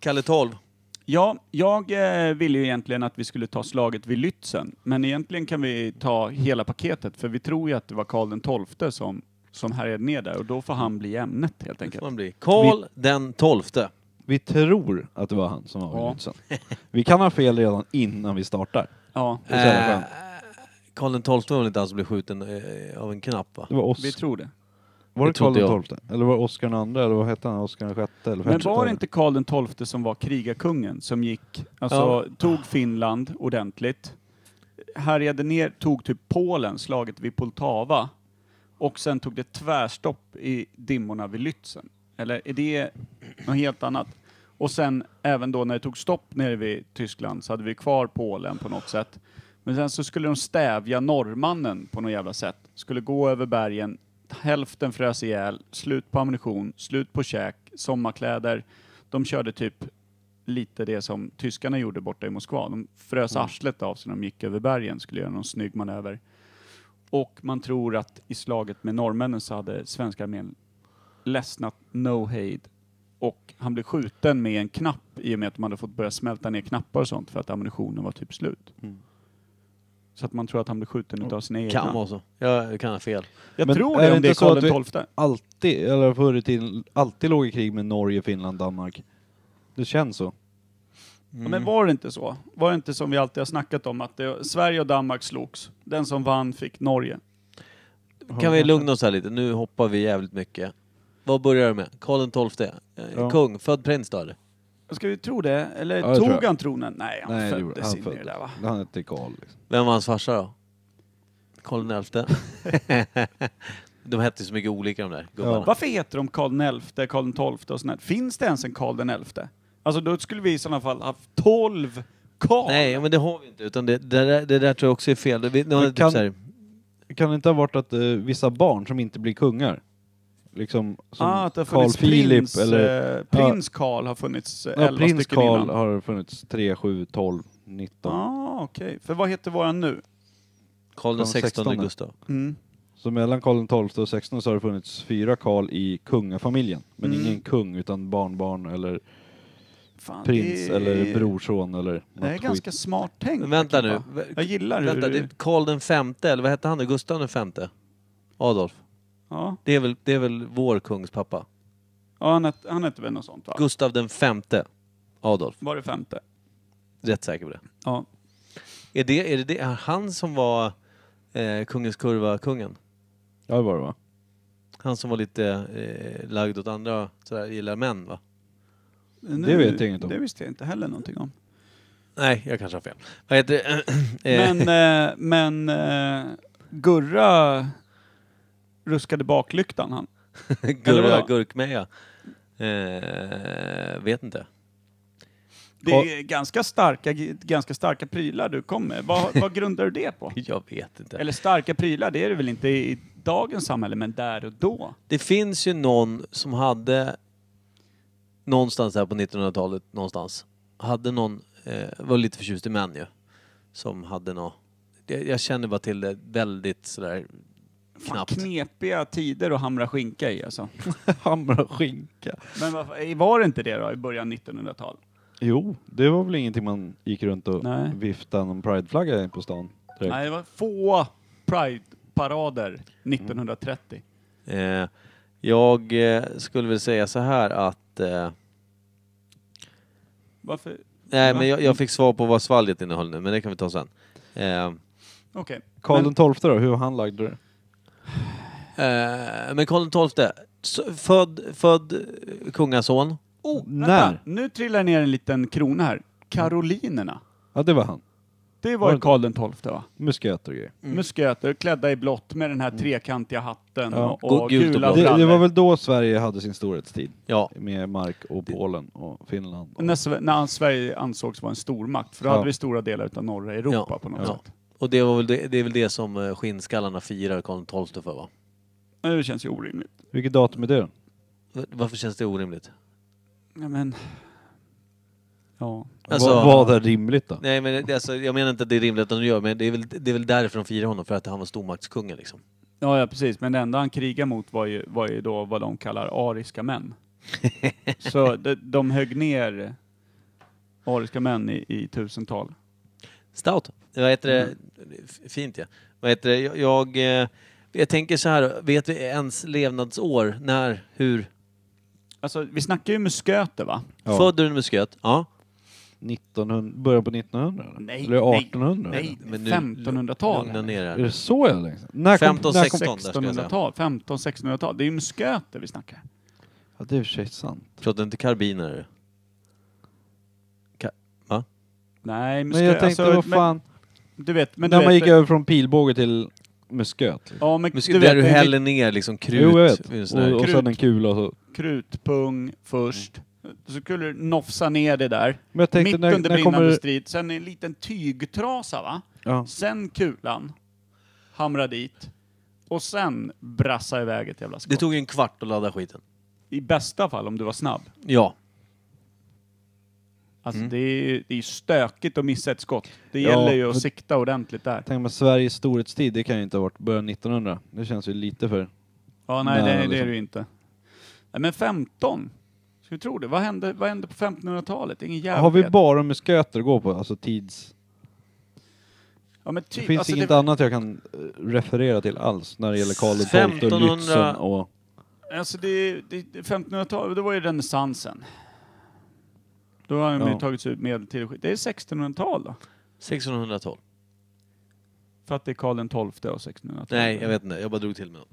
S1: Kalle 12.
S3: Ja, jag eh, ville ju egentligen att vi skulle ta slaget vid Lützen, men egentligen kan vi ta hela paketet, för vi tror ju att det var Karl den XII som, som härjade ner där, och då får han bli ämnet helt
S1: Det får
S3: enkelt.
S1: man bli. Karl den 12.
S2: Vi tror att det var han som
S3: Ja.
S2: var ja. Vi kan ha fel redan innan vi startar.
S3: Ja,
S2: Det är så jävla
S1: Eh,
S2: skönt.
S1: Karl den 12 var väl inte han som blev skjuten eh, av en knapp, va?
S2: Det var oss.
S3: vi tror det.
S2: Var
S1: Det
S2: det Karl
S1: trodde jag.
S2: den XII? Eller var det Oscar den andra? Eller vad hette han? Oscar den sjätte? Eller
S3: Men
S2: femte?
S3: var det inte Karl den XII som var krigarkungen, som gick, alltså tog Finland ordentligt, härjade ner, tog typ Polen, slaget vid Poltava, Och sen tog det tvärstopp i dimmorna vid Lützen. Eller är det något helt annat? Och sen även då när det tog stopp nere vid Tyskland så hade vi kvar Polen på något sätt. Men sen så skulle de stävja norrmannen på något jävla sätt. Skulle gå över bergen, hälften frös ihjäl, slut på ammunition, slut på käk, sommarkläder. De körde typ lite det som tyskarna gjorde borta i Moskva. De frös
S2: Mm.
S3: arslet av sig när de gick över bergen, skulle göra någon snygg manöver. Och man tror att i slaget med norrmännen så hade svenska armén ledsnat no hejd och han blev skjuten med en knapp i och med att de hade fått börja smälta ner knappar och sånt för att ammunitionen var typ slut.
S2: Mm.
S3: Så att man tror att han blev skjuten utav sina egna.
S1: Kan vara så. Jag kan ha fel.
S3: Jag
S2: Men
S3: tror
S2: är
S3: det om
S2: inte
S3: det är
S2: så att vi
S3: Karl XII.
S2: Alltid, eller förr i tiden, alltid låg i krig med Norge, Finland, Danmark. Det känns så.
S1: Mm.
S3: Ja, Men var det inte så? Var det inte som vi alltid har snackat om att det, Sverige och Danmark slogs? Den som vann fick Norge.
S1: Kan vi lugna oss här lite? Nu hoppar vi jävligt mycket. Vad börjar du med? Karl XII? Eh,
S3: Ja.
S1: Kung? Född prins då eller?
S3: Ska vi tro det? Eller
S1: Ja, jag tror
S3: tog
S1: jag.
S3: han tronen? Nej, han
S1: Nej, det gjorde-
S3: föddes
S1: han
S3: in i det
S1: föddes.
S3: där va?
S2: Han hette Karl. Liksom.
S1: Vem var hans farsa då? Karl XI? de hette så mycket olika de där gubbarna.
S3: Varför heter de Karl XI, Karl XII och sånt där? Finns det ens en Karl XI? Alltså då skulle vi i sådana fall haft 12 Karl.
S1: Nej, ja, men det har vi inte. Utan det, det, där, det där tror jag också är fel. Det, vi, nu har
S2: Men
S1: det
S2: kan-
S1: typ så här,
S2: Kan det inte ha varit att eh, vissa barn som inte blir kungar, liksom som
S3: ah, att det har
S2: Carl
S3: funnits
S2: Philip
S3: prins,
S2: eller...
S3: eh, prins Karl har funnits eh,
S2: ja,
S3: 11
S2: prins
S3: stycken
S2: Karl
S3: innan.
S2: har funnits 3, 7, 12, 19.
S3: Ah, okej. För vad heter våran nu?
S1: Karl XVI Gustav.
S3: Mm.
S2: Så mellan Karl XII och 16 så har det funnits fyra Karl i kungafamiljen. Men
S3: Mm.
S2: ingen kung utan barnbarn eller
S3: Fan,
S2: prins
S3: det är-
S2: eller brorson eller
S3: Det är
S2: något
S3: ganska
S2: skit.
S3: smart tänkt.
S1: Vänta nu.
S3: Jag gillar hur...
S1: Vänta, det är Karl den femte, eller vad hette han nu? Gustav den femte? Adolf?
S3: Ja.
S1: Det är väl, det är väl vår kungs pappa?
S3: Ja, han, het, han hette väl något sånt va?
S1: Gustav den femte Adolf.
S3: Var det femte?
S1: Rätt säker på det.
S3: Ja.
S1: Är det, är det, det är han som var eh, kungens kurva-kungen?
S2: Ja det var det va?
S1: Han som var lite eh, lagd åt andra, sådär, gillar män va?
S3: Nu-
S2: vet jag inget om.
S3: Det visste jag inte heller någonting om.
S1: Nej, jag kanske har fel. Vad heter det? Eh,
S3: Men, eh, men eh, Gurra ruskade baklyktan han. Eller
S1: Gurra
S3: vadå?
S1: Gurkmeja? Eh, vet inte.
S3: Det är ganska starka, ganska starka prylar du kom med. Vad, vad grundar du det på?
S1: Jag vet inte.
S3: Eller starka prylar, det är det väl inte i dagens samhälle, men där och då.
S1: Det finns ju någon som hade någonstans här på 1900-talet någonstans hade någon, eh, var lite förtjust i män ju, som hade något jag, jag känner bara till det väldigt sådär
S3: Fan,
S1: knappt.
S3: knepiga tider att hamra skinka i alltså.
S2: Hamra skinka.
S3: Men varför- var det inte det då i början 1900-tal?
S2: Jo, det var väl ingenting man gick runt och
S3: Nej.
S2: viftade någon prideflagga i på stan. direkt.
S3: Nej, det var få Pride-parader
S2: Mm.
S3: 1930.
S1: Eh, jag eh, skulle väl säga så här att eh,
S3: Varför?
S1: nej men jag, jag fick svar på vad svalget innehöll nu men det kan vi ta sen. Eh,
S3: Okej.
S2: Karl
S3: Men-
S2: XII då, hur han lagde det?
S1: eh, men Karl XII, s- född, född eh, kungason.
S3: Oh,
S2: När?
S3: vänta. Nu trillar ner en liten krona här. Karolinerna.
S2: Ja det var han.
S3: Det
S2: Var
S3: var
S2: det-
S3: ju Karl XII va?
S2: Musköter och grejer.
S3: Musköter, klädda i blått med den här trekantiga hatten
S2: Mm. Ja.
S3: och, och gula
S2: det, det var
S3: brallor.
S2: väl då Sverige hade sin storhetstid?
S1: Ja.
S2: Med Mark och Polen och Finland. Och...
S3: När, Sve- när Sverige ansågs vara en stormakt, för då
S2: Ja.
S3: hade vi stora delar utav norra Europa på något sätt.
S1: Och det, var väl det, det är väl det som eh, skinnskallarna firar Karl XII för va?
S3: Men Det känns ju orimligt.
S2: Vilket datum är det?
S1: V- Varför känns det orimligt?
S3: Ja, men... Ja.
S1: Alltså-
S2: Vad- Vad är rimligt då?
S1: Nej men det, alltså, jag menar inte att det är rimligt att de gör, men det är väl, det är väl därför de firar honom, för att han var stormaktskungen liksom.
S3: Ja, ja, precis. Men det enda han krigade mot var ju, var ju då vad de kallar ariska män. Så de, de högg ner ariska män i, i tusental.
S1: Stout. Vad heter det?
S2: Mm.
S1: F- Fint ja. Vad heter det? Jag, jag, eh, jag tänker så här, vet vi ens levnadsår? När? Hur?
S3: Alltså, vi snackar ju musköter va?
S2: Ja.
S1: Född du en musköt? Ja.
S2: 1900, början på 1900? eller?
S3: Nej,
S2: eller
S3: nej,
S2: 1800?
S3: nej.
S1: Men nu-
S3: 1500-tal.
S1: Lugna ner
S2: Är det
S1: här.
S2: så jag länge sedan? När kom-
S1: 15,
S2: när kom-
S1: 16. där ska jag säga.
S3: 1600-tal, 1500-1600-tal. Det är ju musköter vi snackar.
S2: Ja, det är i och för sig sant.
S1: Pratar inte karbiner? Ka- va?
S3: Nej,
S2: Men jag
S3: musköter...
S2: tänkte, vad fan,
S3: alltså, Men, du vet, men du
S2: när man
S3: vet,
S2: gick över från pilbåge till med sköt. Liksom.
S3: Ja, men
S1: Men
S3: du
S1: där
S3: vet,
S1: du
S3: det-
S1: häller ner liksom krut.
S2: jo, jag vet.
S1: i en sån här-
S2: Och, och sen en kula och så.
S3: Krutpung först.
S1: Mm.
S3: Så skulle du nofsa ner det där.
S2: Men jag tänkte
S3: Mitt
S2: när-
S3: under
S2: när
S3: brinnande
S2: kommer-
S3: strid. Sen en liten tygtrasa va?
S2: Ja.
S3: Sen kulan. Hamra dit. Och sen brassa iväg ett jävla skott.
S1: Det tog ju en kvart att ladda skiten.
S3: I bästa fall om du var snabb.
S1: Ja.
S3: Alltså
S1: Mm.
S3: det är ju det är ju stökigt att missa ett skott. Det
S2: Ja,
S3: gäller ju att
S2: men-
S3: sikta ordentligt där.
S2: Tänk mig Sveriges storhetstid, det kan ju inte ha varit början 1900. Det känns ju lite för...
S3: Ja, nej,
S2: nära,
S3: det, det är
S2: liksom.
S3: det ju inte. Nej, men 15? Ska vi tro det? Vad hände, vad hände på 1500-talet? Ingen jävla
S2: Har vi bara musköter att gå på? Alltså tids...
S3: ja, men typ,
S2: Det finns
S3: alltså,
S2: inget
S3: det,
S2: annat jag kan eh, referera till alls när det gäller Karl XII och
S1: 1500
S2: Lützen och...
S3: Alltså det, det, det 1500-talet, det var ju renässansen. Då har de ju
S2: Ja.
S3: tagits ut medeltid och skit. Det är 1600-tal då?
S1: 1612.
S3: För att det är Karl XII och 1600-talet.
S1: Typ. Nej, jag vet inte. Jag bara drog till med något.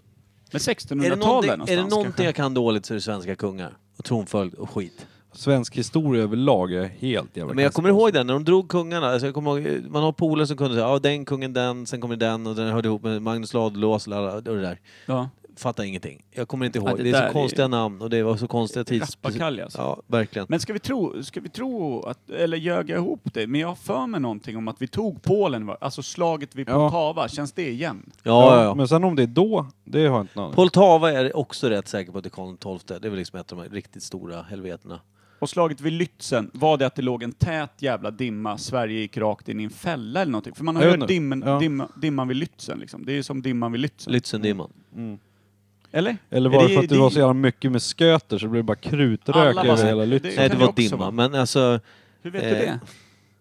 S3: Men
S1: Är det
S3: 1600-talet
S1: någonting,
S3: någonstans
S1: är det någonting
S3: kanske?
S1: jag kan dåligt så är det svenska kungar. Och tronföljd och skit.
S2: Svensk historia överlag är helt jävla
S1: Men jag
S2: kass.
S1: kommer ihåg den, när de drog kungarna. Alltså jag kommer ihåg, eh, man har polare som kunde säga ja den kungen, den, sen kommer den och den hörde ihop med Magnus Ladulås och alla- och det där.
S3: Ja.
S1: Fattar ingenting. Jag kommer inte ihåg.
S3: Ja, det
S1: det, är
S3: där är-
S1: så konstiga namn och det var så konstiga tids...
S3: Rappakalja, alltså.
S1: Ja, verkligen.
S3: Men ska vi tro, ska vi tro att, eller ljög jag ihop det? Men jag har för mig någonting om att vi tog Polen, va? alltså slaget vid Poltava, känns det igen?
S1: Ja, ja, ja.
S2: Men sen om det är då, det har jag inte någon aning om.
S1: Poltava är också rätt säker på att det är Karl XII. Det är väl liksom ett av de här riktigt stora helvetena.
S3: Och slaget vid Lützen, var det att det låg en tät jävla dimma, Sverige gick rakt in i en fälla eller någonting? För man har
S2: Jag
S3: ju
S2: vet
S3: hört
S2: inte.
S3: dimmen,
S2: Ja.
S3: dimma, dimman vid Lützen liksom. Det är ju som dimman vid Lützen.
S1: Lützendimman.
S3: Mm. Eller?
S2: Eller var det, för att det, var så
S3: jävla...
S2: jävla mycket med sköter så det blev bara
S3: Alla
S2: krutrök
S3: var
S2: över
S3: så-
S2: hela
S3: det-
S2: Lützen?
S1: Nej,
S3: kan
S1: det
S3: ju
S1: var
S3: också
S1: dimma.
S3: vara.
S1: Men alltså...
S3: Hur vet du
S1: eh,
S3: det?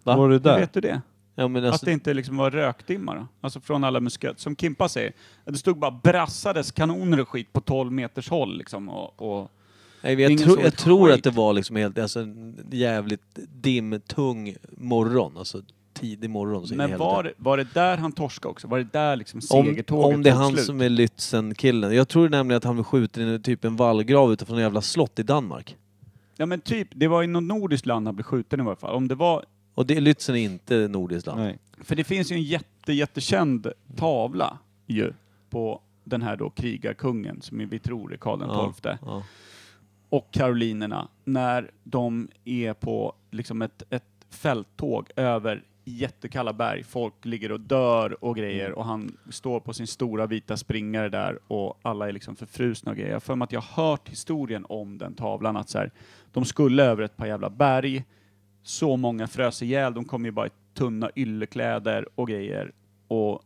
S1: Va?
S2: Var det
S3: Hur
S2: där?
S3: vet du det?
S1: Ja, men
S3: Att
S1: alltså,
S3: det inte liksom var rökdimma då? Alltså från alla musköt. Som Kimpa säger, att det stod bara brassades kanoner och skit på 12 meters håll liksom. Och, och...
S1: nej, jag
S3: ingen
S1: tror-
S3: såg
S1: jag
S3: ett
S1: tror att
S3: skit.
S1: det var liksom helt, alltså, en jävligt dimtung morgon. Alltså tidig morgon. Så in i
S3: Men
S1: helvete.
S3: var, det- var det där han torskade också? Var det där liksom
S1: om,
S3: segertåget
S1: om det är
S3: tog
S1: han
S3: slut?
S1: som är Lützen-killen. Jag tror nämligen att han blev skjuten i typ en vallgrav utanför en jävla slott i Danmark.
S3: Ja men typ, det var i något nordiskt land han blev skjuten i varje fall. Om det var
S1: Och det, Lützen är inte nordiskt land.
S2: Nej.
S3: För det finns ju en jätte, jättekänd tavla ju på den här då krigarkungen som vi tror är Karl
S1: Ja,
S3: XII
S1: ja.
S3: och karolinerna när de är på liksom ett, ett fälttåg över jättekalla berg. Folk ligger och dör och grejer och han står på sin stora vita springare där och alla är liksom förfrusna och grejer. Jag har för mig att jag har hört historien om den tavlan att så här, de skulle över ett par jävla berg så många frös ihjäl. De kom ju bara i tunna yllekläder och grejer. Och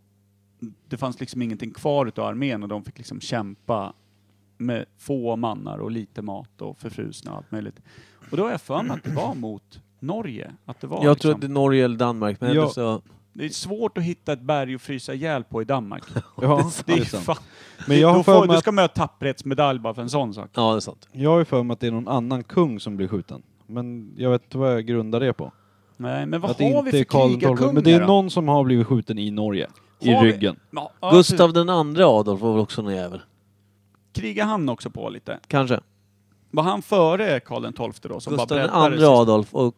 S3: det fanns liksom ingenting kvar utav armén och de fick liksom kämpa med få mannar och lite mat och förfrusna och allt möjligt. Och då har jag för mig att det var mot Norge. Att det, var
S1: Jag tror
S3: liksom,
S1: att det är Norge eller Danmark. Men
S2: Ja.
S1: ja. så,
S3: det är svårt att hitta ett berg att frysa ihjäl på i Danmark.
S2: Ja,
S3: Det är
S2: sant.
S3: fan,
S2: Men jag har
S3: då
S2: för
S3: får,
S2: mig
S3: du
S2: att,
S3: ska möta tapperhetsmedalj bara för en sån sak.
S1: ja, det är sant.
S2: jag har ju för mig att det är någon annan kung som blir skjuten. Men jag vet inte vad jag grundar det på.
S3: Nej, men vad
S2: att det
S3: har vi
S2: inte
S3: för
S2: är Karl
S3: krigarkungar
S2: XII. Men det är
S3: då?
S2: någon som har blivit skjuten i Norge. I
S3: Har vi?
S2: ryggen.
S3: Ja, ja,
S1: Gustav den andra Adolf var väl också någon jävel?
S3: Krigar han också på lite?
S1: Kanske.
S3: Var han före Karl XII då? Som
S1: Gustav
S3: bara
S1: den
S3: breddade
S1: andra
S3: sist?
S1: Adolf och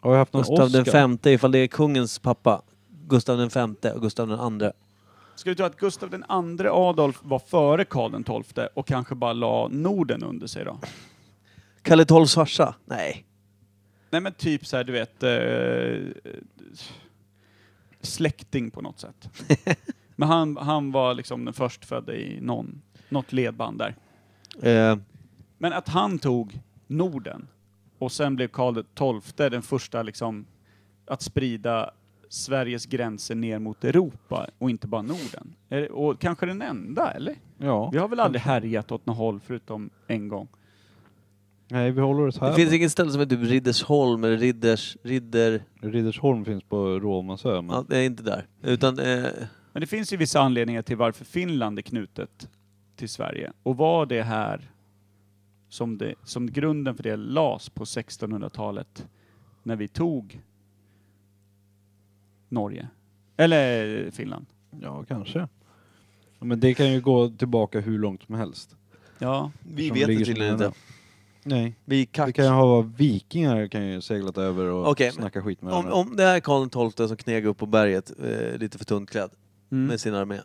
S2: Har jag haft någon
S1: Gustav den
S2: Oscar?
S1: femte ifall det är kungens pappa. Gustav den femte och Gustav den andra.
S3: Ska vi tro att Gustav den andra Adolf var före Karl XII och kanske bara la Norden under sig då?
S1: Kalle XIIs farsa? Nej.
S3: Nej men typ så här, du vet, eh, släkting på något sätt. men han, han var liksom den förstfödde i någon, något ledband där.
S1: Eh,
S3: Men att han tog Norden och sen blev Karl XII den första liksom att sprida Sveriges gränser ner mot Europa och inte bara Norden. Är det- Och kanske den enda, eller?
S2: Ja.
S3: Vi har väl aldrig härjat åt något håll förutom en gång.
S2: Nej, vi håller oss
S1: det
S2: här.
S1: finns inget ställe som heter typ Riddersholm eller Ridders... Ridder...
S2: Riddersholm finns på Råmansö. Men...
S1: Ja, det är inte där. Utan... Eh,
S3: Men det finns ju vissa anledningar till varför Finland är knutet till Sverige. Och var det här som, det, som grunden för det lades på 1600-talet när vi tog Norge? Eller Finland?
S2: Ja, kanske. Ja, Men det kan ju gå tillbaka hur långt som helst.
S3: Ja.
S1: vi
S2: Som
S1: vet
S2: ligger
S1: det
S2: som
S1: tydligen
S2: nära.
S1: inte.
S2: Nej.
S1: Vi är
S2: Det
S1: kack.
S2: kan ju ha vikingar kan ju seglat över och
S1: Okej, men-
S2: snacka skit med
S1: Om,
S2: varandra.
S1: om det är Karl XII som kneg upp på berget, eh, lite för tunt klädd,
S3: Mm.
S1: med sin armé.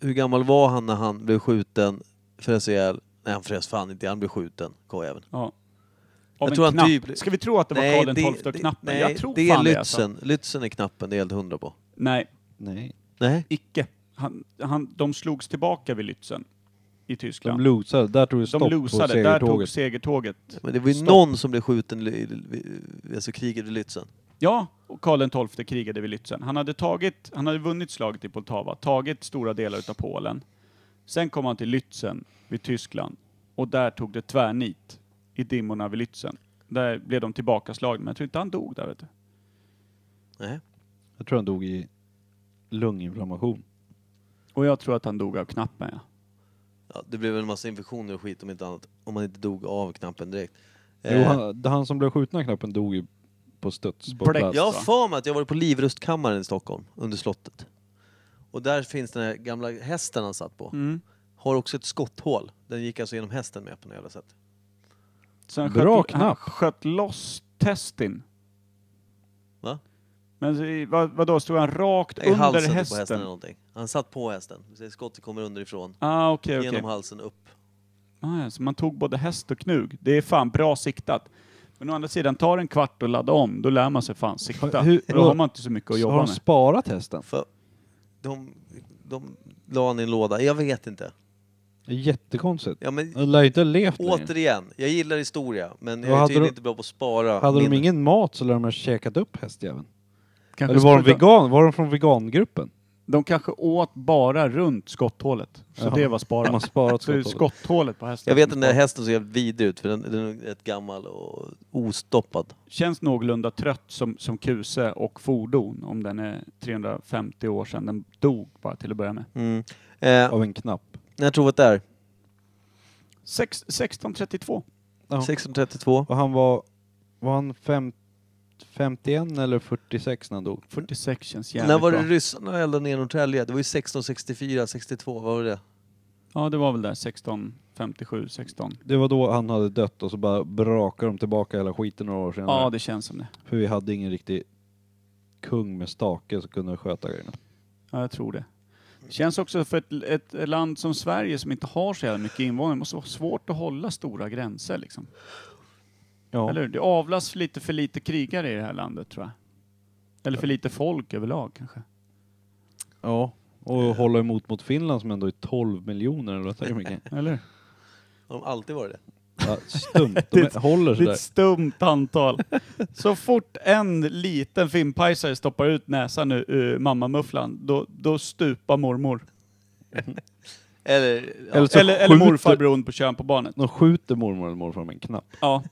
S1: hur gammal var han när han blev skjuten, frös ihjäl? Nej, han frös fan inte han blev skjuten, kojäveln.
S3: Ja.
S1: Jag
S3: Av en
S1: tror han
S3: knapp.
S1: typ-
S3: Ska vi tro att det var
S1: Nej,
S3: Karl den
S1: det-
S3: XII och
S1: det-
S3: knappen?
S1: nej,
S3: Jag tror
S1: det är
S3: fan
S1: Lützen.
S3: det, alltså.
S1: Lützen är knappen, det är jag helt hundra på.
S3: Nej.
S2: Nej.
S1: Nej.
S3: Icke. Han, han, de slogs tillbaka vid Lützen i Tyskland.
S2: De losade, där tog det
S3: De
S2: stopp på
S3: losade, där tog
S2: segertåget.
S3: segertåget
S1: Men det var ju
S3: stopp.
S1: någon som blev skjuten i- i- i- alltså kriget vid Lützen.
S3: Ja, och Karl XII krigade vid Lützen. Han hade, tagit, han hade vunnit slaget i Poltava, tagit stora delar utav Polen. Sen kom han till Lützen vid Tyskland och där tog det tvärnit i dimmorna vid Lützen. Där blev de tillbakaslagna, men jag tror inte han dog där vet du.
S1: Nej.
S2: Jag tror han dog i lunginflammation.
S3: Och jag tror att han dog av knappen ja.
S1: Ja, det blev väl en massa infektioner och skit om inte annat. Om man inte dog av knappen direkt.
S2: Jo,
S1: Eh,
S2: han, han som blev skjuten av knappen dog ju på studs. På
S3: Bläck.
S2: plats.
S1: Jag har för mig att jag var på Livrustkammaren i Stockholm, under slottet. Och där finns den här gamla hästen han satt på.
S3: Mm.
S1: Har också ett skotthål. Den gick alltså genom hästen med på något jävla sätt.
S3: Sen
S2: Bra
S3: sköt, Han
S2: knapp.
S3: sköt loss testin.
S1: Va?
S3: Men så i- vad, vadå, stod han rakt
S1: Nej, I
S3: under
S1: halsen typ,
S3: hästen?
S1: på hästen eller någonting. Han satt på hästen. Så Skottet kommer underifrån.
S3: Ah, okej, okej.
S1: genom halsen upp.
S3: Ah, ja, så man tog både häst och knug. Det är fan bra siktat. Men å andra sidan, tar en kvart och ladda om, då lär man sig fan sikta.
S2: Hur-
S3: För då har man inte så mycket att
S2: Så
S3: jobba
S2: har
S3: med.
S2: de sparat hästen?
S1: För de, de la han i en låda. Jag vet inte.
S2: Det är jättekonstigt.
S1: Ja, men
S2: De lär ju inte ha levt länge.
S1: återigen, jag gillar historia. Men jag
S2: Vad
S1: är
S2: hade
S1: tydligen
S2: de-
S1: inte bra på att spara.
S2: Hade de
S1: minnen.
S2: ingen mat så lär de ha käkat upp hästjäveln.
S3: Kanske
S2: Eller var de,
S3: skulle-
S2: vegan, var de från vegangruppen?
S3: de kanske åt bara runt skotthålet.
S2: Jaha.
S3: Så det var
S2: De har
S3: sparat.
S2: sparat
S3: Så det är
S2: skotthålet.
S3: skotthålet på hästen.
S1: Jag vet att
S3: som
S1: den där
S3: är sparat.
S1: hästen såg jävligt vidrig ut för den, den är rätt gammal och ostoppad.
S3: Känns någorlunda trött som, som kuse och fordon om den är 350 år sedan den dog bara till att börja med.
S1: Mm. Eh,
S2: Av en knapp.
S1: när tror vi att det är?
S3: Sex, 1632.
S2: Ja.
S1: 1632?
S2: Och han var, var han fem, 51 eller 46 när han dog?
S3: 46 känns jävligt
S1: När var det
S3: bra.
S1: ryssarna eldade ner Norrtälje? Det var ju 1664, 62, vad var det?
S3: Ja, det var väl där 1657, 16.
S2: Det var då han hade dött och så bara brakade de tillbaka hela skiten några år senare.
S3: Ja, det känns som det.
S2: För vi hade ingen riktig kung med stake som kunde sköta grejerna.
S3: Ja, jag tror det. Känns också för ett, ett land som Sverige som inte har så jävla mycket invånare, måste vara svårt att hålla stora gränser liksom.
S2: Ja.
S3: Eller hur? Det avlas lite för lite krigare i det här landet tror jag. Eller för lite folk överlag kanske.
S2: Ja. Och
S1: Eh.
S2: hålla emot mot Finland som ändå är 12 miljoner eller vad säger du, Micke?
S3: Eller?
S1: Har de alltid varit det?
S2: Ja, stumt. De
S3: Det-
S2: håller
S3: Det är
S2: sådär.
S3: ett stumt antal. Så fort en liten finpajsare stoppar ut näsan ur, ur mammamufflan, då, då stupar mormor.
S1: Eller, ja.
S2: Eller så
S3: eller, eller
S2: skjuter-
S3: morfar beroende på kön på barnet.
S2: De skjuter mormor eller morfar med en knapp.
S3: Ja.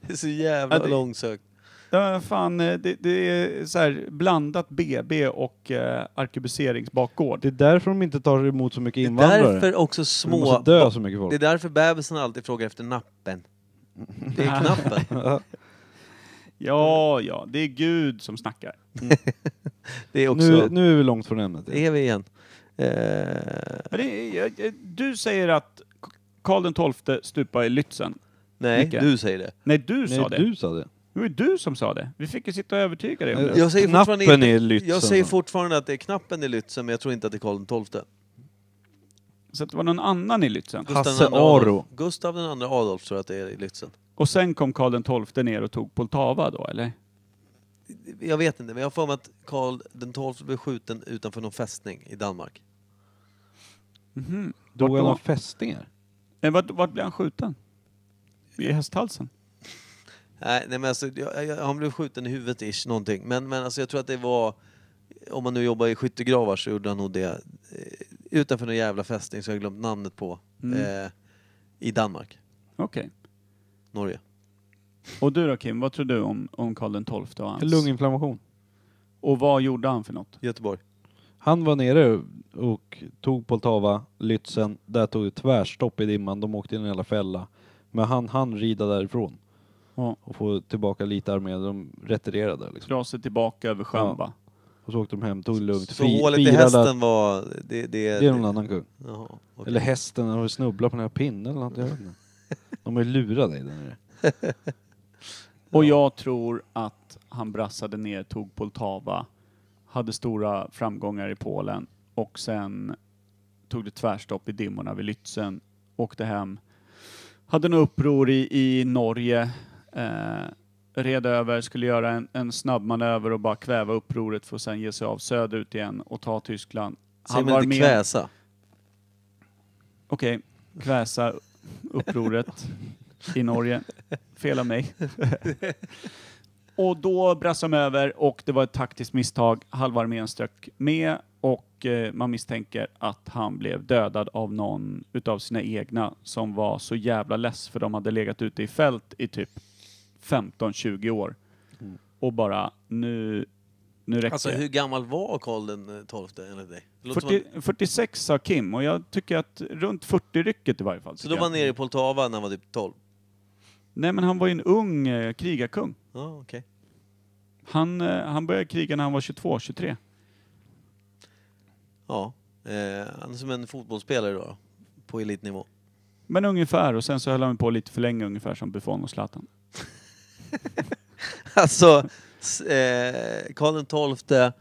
S1: det är så jävla
S3: Ja, det-
S1: långsökt.
S3: Ja, fan, eh, det, det är så här blandat BB och eh, arkebuseringsbakgård.
S2: Det är därför de inte tar emot så mycket
S1: Det är
S2: invandrare.
S1: därför också
S2: För
S1: små...
S2: de måste dö så mycket folk.
S1: Det är därför bebisen alltid frågar efter nappen. Det är knappen.
S3: Ja, ja, det är Gud som snackar.
S1: Det är också...
S2: nu, nu är vi långt från ämnet.
S1: Det är vi igen. Eh,
S3: Men det, är- eh, eh, du säger att K- Karl XII stupade i Lützen.
S1: nej,
S3: Micke.
S1: du säger det.
S3: Nej, du
S2: Nej,
S3: sa det.
S2: du sa det.
S3: Det var ju du som sa det. Vi fick ju sitta och övertyga dig om det.
S1: Jag säger
S2: Knappen
S1: fortfarande
S2: är
S1: inte-
S2: Lützen,
S1: Jag säger
S2: va?
S1: fortfarande att det är knappen i Lützen, men jag tror inte att det är Karl XII.
S3: Så att det var någon annan i Lützen.
S1: Gustav
S2: Hasse
S1: II Adolf-
S2: Aro.
S1: Gustav den andra Adolf tror jag att det är i Lützen.
S3: Och sen kom Karl XII ner och tog Poltava då, eller?
S1: Jag vet inte, men jag har för mig att Karl XII blev skjuten utanför någon fästning i Danmark.
S3: Mhm. Vart
S2: Dog han
S3: då?
S2: av fästingar?
S3: Nej, Eh, vart, vart blev han skjuten? I hästhalsen?
S1: Nej, nej men alltså, jag, jag, han blev skjuten i huvudet ish, någonting. Men, men alltså, jag tror att det var, om man nu jobbar i skyttegravar så gjorde han nog det eh, utanför någon jävla fästning som jag glömt namnet på.
S3: Mm.
S1: Eh, I Danmark,
S3: Okej.
S1: Norge.
S3: Och du då Kim, vad tror du om, om Karl XII och hans?
S2: Lunginflammation.
S3: Och vad gjorde han för något?
S1: Göteborg.
S2: Han var nere och tog Poltava, Lützen, där tog det tvärstopp i dimman, de åkte in i en jävla fälla. Men han hann rida därifrån
S3: Ja.
S2: och få tillbaka lite armé, de retirerade liksom.
S3: Dra sig tillbaka över sjön
S2: Ja.
S3: va?
S2: Och så åkte de hem, tog det lugnt,
S1: Så
S2: fi-
S1: hålet i
S2: firade
S1: hästen
S2: att-
S1: var... Det, det, det,
S2: Det är någon annan kung.
S1: Jaha, okej.
S2: Eller hästen, har snubblat på den här pinnen eller något, jag vet inte. De har ju lurat dig där nere.
S3: Och jag tror att han brassade ner, tog Poltava, hade stora framgångar i Polen och sen tog det tvärstopp i dimmorna vid Lützen, åkte hem, hade något uppror i, i Norge, eh, red över, skulle göra en, en snabb manöver och bara kväva upproret för att sen ge sig av söderut igen och ta Tyskland.
S1: Säger man inte kväsa?
S3: Okej, kväsa upproret i Norge. Fel av mig. och då brast de över och det var ett taktiskt misstag. Halva armén strök med och eh, man misstänker att han blev dödad av någon utav sina egna som var så jävla less för de hade legat ute i fält i typ 15-20 år. Och bara nu, nu räcker
S1: Mm. Alltså
S3: det.
S1: hur gammal var Karl den eh, tolfte enligt dig? Det låter som
S3: 40, 46 sa Kim och jag tycker att runt 40-rycket i varje fall.
S1: att- Så
S3: tycker
S1: då
S3: jag.
S1: var han nere i Poltava när han var typ 12?
S3: Nej men han var ju en ung eh, krigarkung.
S1: Ja, okej.
S3: Han, eh, han började kriga när han var 22, 23.
S1: Ja. Eh, han är som en fotbollsspelare då, på elitnivå.
S3: Men ungefär och sen så höll han på lite för länge ungefär som Buffon och Zlatan.
S1: Alltså, s- eh, Karl den tolfte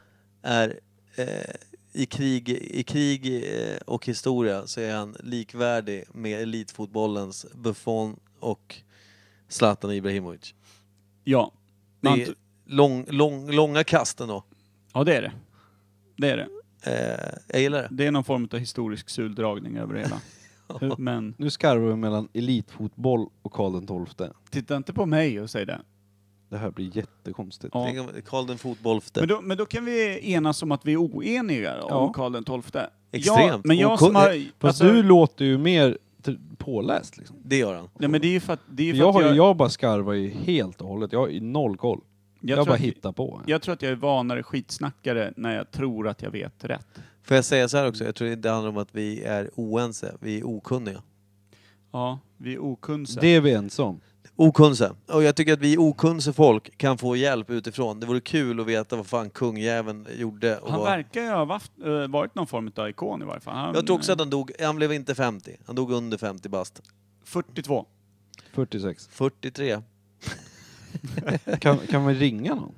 S1: är eh, i krig, i krig eh, och historia så är han likvärdig med elitfotbollens Buffon och Zlatan Ibrahimovic.
S3: Ja.
S1: Det
S3: Man-
S1: är lång, lång, långa kasten då.
S3: Ja det är det. Det är det.
S1: Eh, jag gillar det.
S3: Det är någon form av historisk suldragning över det hela. Men
S2: Nu skarvar vi mellan elitfotboll och Karl XII.
S3: titta inte på mig och säg det.
S2: Det här blir jättekonstigt.
S3: Ja.
S1: Tänk om- Karl den fotbollfte.
S3: Men då, men då kan vi enas om att vi är oeniga då, om Karl den tolfte. Ja,
S1: Extremt.
S3: men jag
S2: Och- eh,
S3: som har... alltså,
S2: Fast du låter ju mer t- påläst liksom.
S1: Det gör han.
S3: nej, men det är ju för att, det är ju för
S2: Jag,
S3: att
S2: har, ju-
S3: jag,
S2: jag bara skarvar ju helt och hållet. Jag har ju noll koll. Jag,
S3: tror
S2: bara
S3: att-
S2: hittar på.
S3: Jag tror att jag är vanare skitsnackare när jag tror att jag vet rätt.
S1: Får jag säga så här också? Jag tror det handlar om att vi är oense. Vi är okunniga.
S3: Ja, vi är okunse.
S2: Det är vi ens om.
S1: Okunse. Och jag tycker att vi okunse folk kan få hjälp utifrån. Det vore kul att veta vad fan kungjäveln gjorde. Och
S3: Han
S1: vad...
S3: verkar ju ha varit, eh, varit någon form av ikon i varje fall. Han, eh,
S1: Jag tror också att han dog, han blev inte 50. Han dog under 50 bast.
S3: 42.
S2: 46.
S1: 43.
S2: Kan, kan vi ringa någon?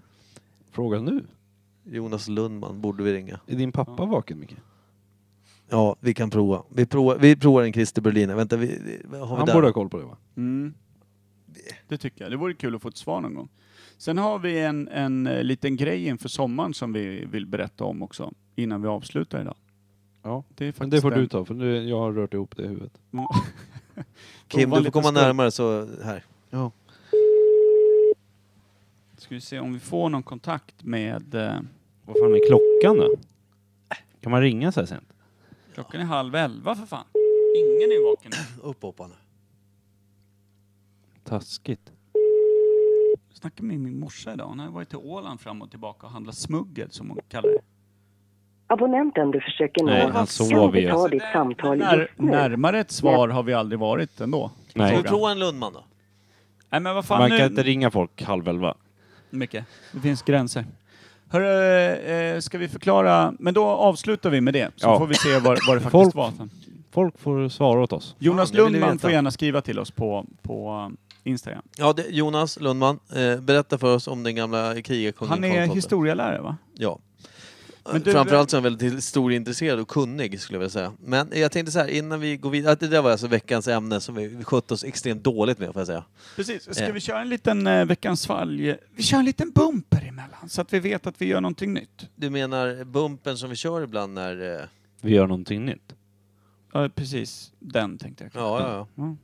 S2: Fråga nu.
S1: Jonas Lundman borde vi ringa.
S2: Är din pappa vaken Micke?
S1: Ja, vi kan prova. Vi provar, vi provar en Christer Berliner. Vänta, vi, vi- har vi
S2: Han
S1: där?
S2: borde ha koll på det va?
S3: Mm. Det tycker jag. Det vore kul att få ett svar någon gång. Sen har vi en, en eh, liten grej inför sommaren som vi vill berätta om också innan vi avslutar idag.
S2: Ja.
S3: det, är
S2: Men
S3: faktiskt
S2: det får
S3: en-
S2: du ta för nu, jag har rört ihop det i huvudet.
S3: Ja.
S1: Kim, du
S3: Prova
S1: får
S3: lite
S1: komma
S3: skoj.
S1: närmare så här.
S2: Ja.
S3: Ska vi se om vi får någon kontakt med... eh,
S6: Vad fan är klockan då? Kan man ringa så här sent?
S3: Klockan är halv elva för fan. Ingen är vaken nu.
S1: Upp, upp han.
S6: Taskigt.
S3: Jag snackade med min morsa idag. Hon har varit till Åland fram och tillbaka och handlat smuggel som hon kallar det.
S12: Abonnenten du försöker nå
S6: Nej, han
S12: kan
S6: sover ju.
S12: inte ta ditt samtal
S3: När,
S12: just nu.
S3: närmare ett svar har vi aldrig varit ändå.
S6: Nej.
S1: Ska vi
S3: Frågan.
S1: prova en Lundman då?
S3: Nej men vad fan
S6: man
S3: nu?
S6: kan inte ringa folk halv elva.
S3: Micke, det finns gränser. Hörru, eh, ska vi förklara? Men då avslutar vi med det, så
S6: Ja.
S3: får vi se vad, vad det faktiskt
S6: Folk-
S3: var. för-
S6: Folk får svara åt oss.
S3: Jonas
S1: det vill jag
S3: Lundman
S1: veta.
S3: får gärna skriva till oss på, på eh, Instagram.
S1: Ja, det, Jonas Lundman, eh, berätta för oss om den gamla krigarkungen
S3: Han
S1: Karl
S3: är
S1: XII.
S3: historielärare va?
S1: Ja.
S3: Men du-
S1: Framförallt så är han väldigt historieintresserad och kunnig skulle jag vilja säga. Men jag tänkte så här innan vi går vidare, att det där var alltså veckans ämne som vi vi skötte oss extremt dåligt med får jag säga.
S3: Precis. Ska
S1: Eh.
S3: vi köra en liten eh, veckans svalg? Vi kör en liten bumper emellan, så att vi vet att vi gör någonting nytt.
S1: Du menar bumpen som vi kör ibland när... eh,
S6: Vi gör någonting nytt.
S3: Ja, precis. Den tänkte jag.
S1: Ja, ja, ja.
S3: Mm.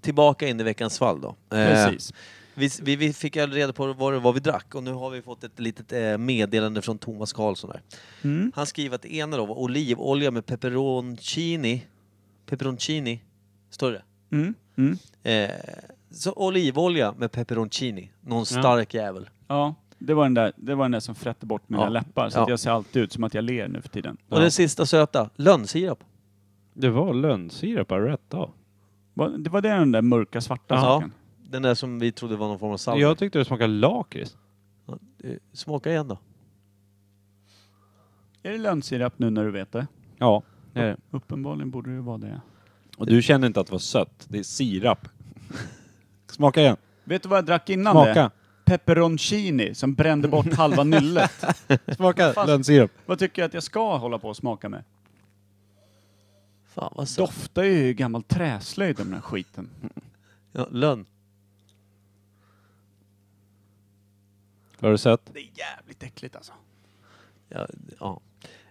S1: Tillbaka in i veckans fall då. Eh,
S3: Precis.
S1: Vi, vi, vi fick aldrig reda på vad det var vi drack och nu har vi fått ett litet eh, meddelande från Thomas Karlsson där.
S3: Mm.
S1: Han skriver att det ena då var olivolja med pepperoncini. Pepperoncini, står det?
S3: Mm. Mm.
S1: Eh, så olivolja med pepperoncini. Någon stark jävel.
S3: Ja, det var den där, det var den där som frätte bort mina
S1: Ja.
S3: läppar, så
S1: Ja.
S3: att jag ser alltid ut som att jag ler nu för tiden.
S1: Och den sista söta, lönnsirap.
S6: Det var lönnsirap bara rätt av.
S3: Va- Det var det den där mörka svarta
S1: Ja,
S3: saken.
S1: den där som vi trodde var någon form av sallad.
S6: Jag tyckte det smakade lakrits.
S1: Ja, eh, Smaka igen då.
S3: Är det lönnsirap nu när du vet det?
S6: Ja, det är det.
S3: Uppenbarligen borde det vara det.
S6: Och du känner inte att det var sött. Det är sirap. Smaka igen.
S3: Vet du vad jag drack innan det?
S6: Smaka.
S3: pepperoncini som brände bort halva nyllet.
S2: Smaka
S3: Fast-
S2: lönnsirap.
S3: Vad tycker jag att jag ska hålla på och smaka med?
S1: Fan vad sött.
S3: Doftar ju gammal träslöjd om den här skiten.
S1: Ja, lönn.
S2: Har du sett?
S3: Det är jävligt äckligt alltså.
S1: Ja, ja.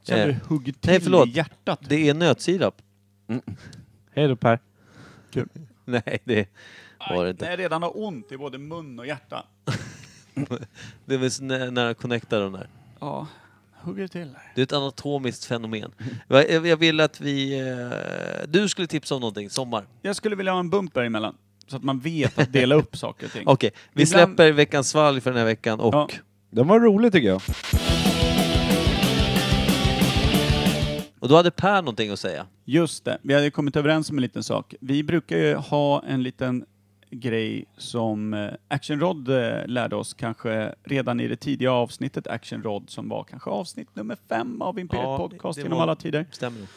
S3: Känner du
S1: Eh,
S3: hugger
S1: nej,
S3: till
S1: förlåt.
S3: i hjärtat?
S1: Det är nötsirap.
S2: Hej då Per.
S3: Kul.
S1: Nej, det var det
S3: När
S1: inte.
S3: jag redan har ont i både mun och hjärta.
S1: Det är väl så nä- nära connecta de där.
S3: Ja, hugger till.
S1: Det är ett anatomiskt fenomen. Va- Jag jag vill att vi... eh, Du skulle tipsa om någonting, sommar.
S3: Jag skulle vilja ha en bumper emellan. Så att man vet att dela upp saker och ting.
S1: Okej, vi
S3: Ibland-
S1: släpper veckans svalg för den här veckan och...
S3: Ja.
S2: Den var rolig tycker jag.
S1: Och då hade Per någonting att säga.
S3: Just det, vi hade kommit överens om en liten sak. Vi brukar ju ha en liten grej som eh, Action Rod eh, lärde oss kanske redan i det tidiga avsnittet Action Rod som var kanske avsnitt nummer fem av Imperiet
S1: Ja,
S3: Podcast
S1: det
S3: genom
S1: var-
S3: alla tider.
S1: Stämmer nog.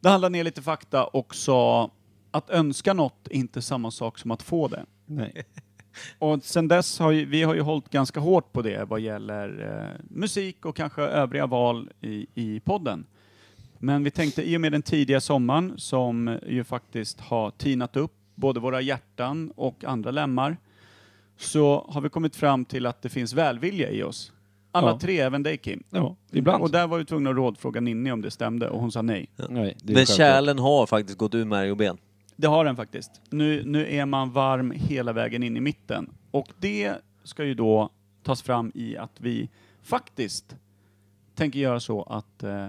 S3: Det handlade ner lite fakta och sa att önska något är inte samma sak som att få det.
S2: Nej.
S3: Och sen dess har ju, vi har ju hållit ganska hårt på det vad gäller eh, musik och kanske övriga val i, i podden. Men vi tänkte i och med den tidiga sommaren som ju faktiskt har tinat upp både våra hjärtan och andra lemmar så har vi kommit fram till att det finns välvilja i oss. Alla
S2: Ja.
S3: tre, även dig Kim.
S2: Ja, ibland.
S3: Och där var vi tvungna att rådfråga Ninni om det stämde och hon sa nej.
S2: Nej, det är
S1: Men
S2: självklart.
S1: kärlen har faktiskt gått ur märg och ben.
S3: Det har den faktiskt. Nu, nu är man varm hela vägen in i mitten. Och det ska ju då tas fram i att vi faktiskt tänker göra så att eh,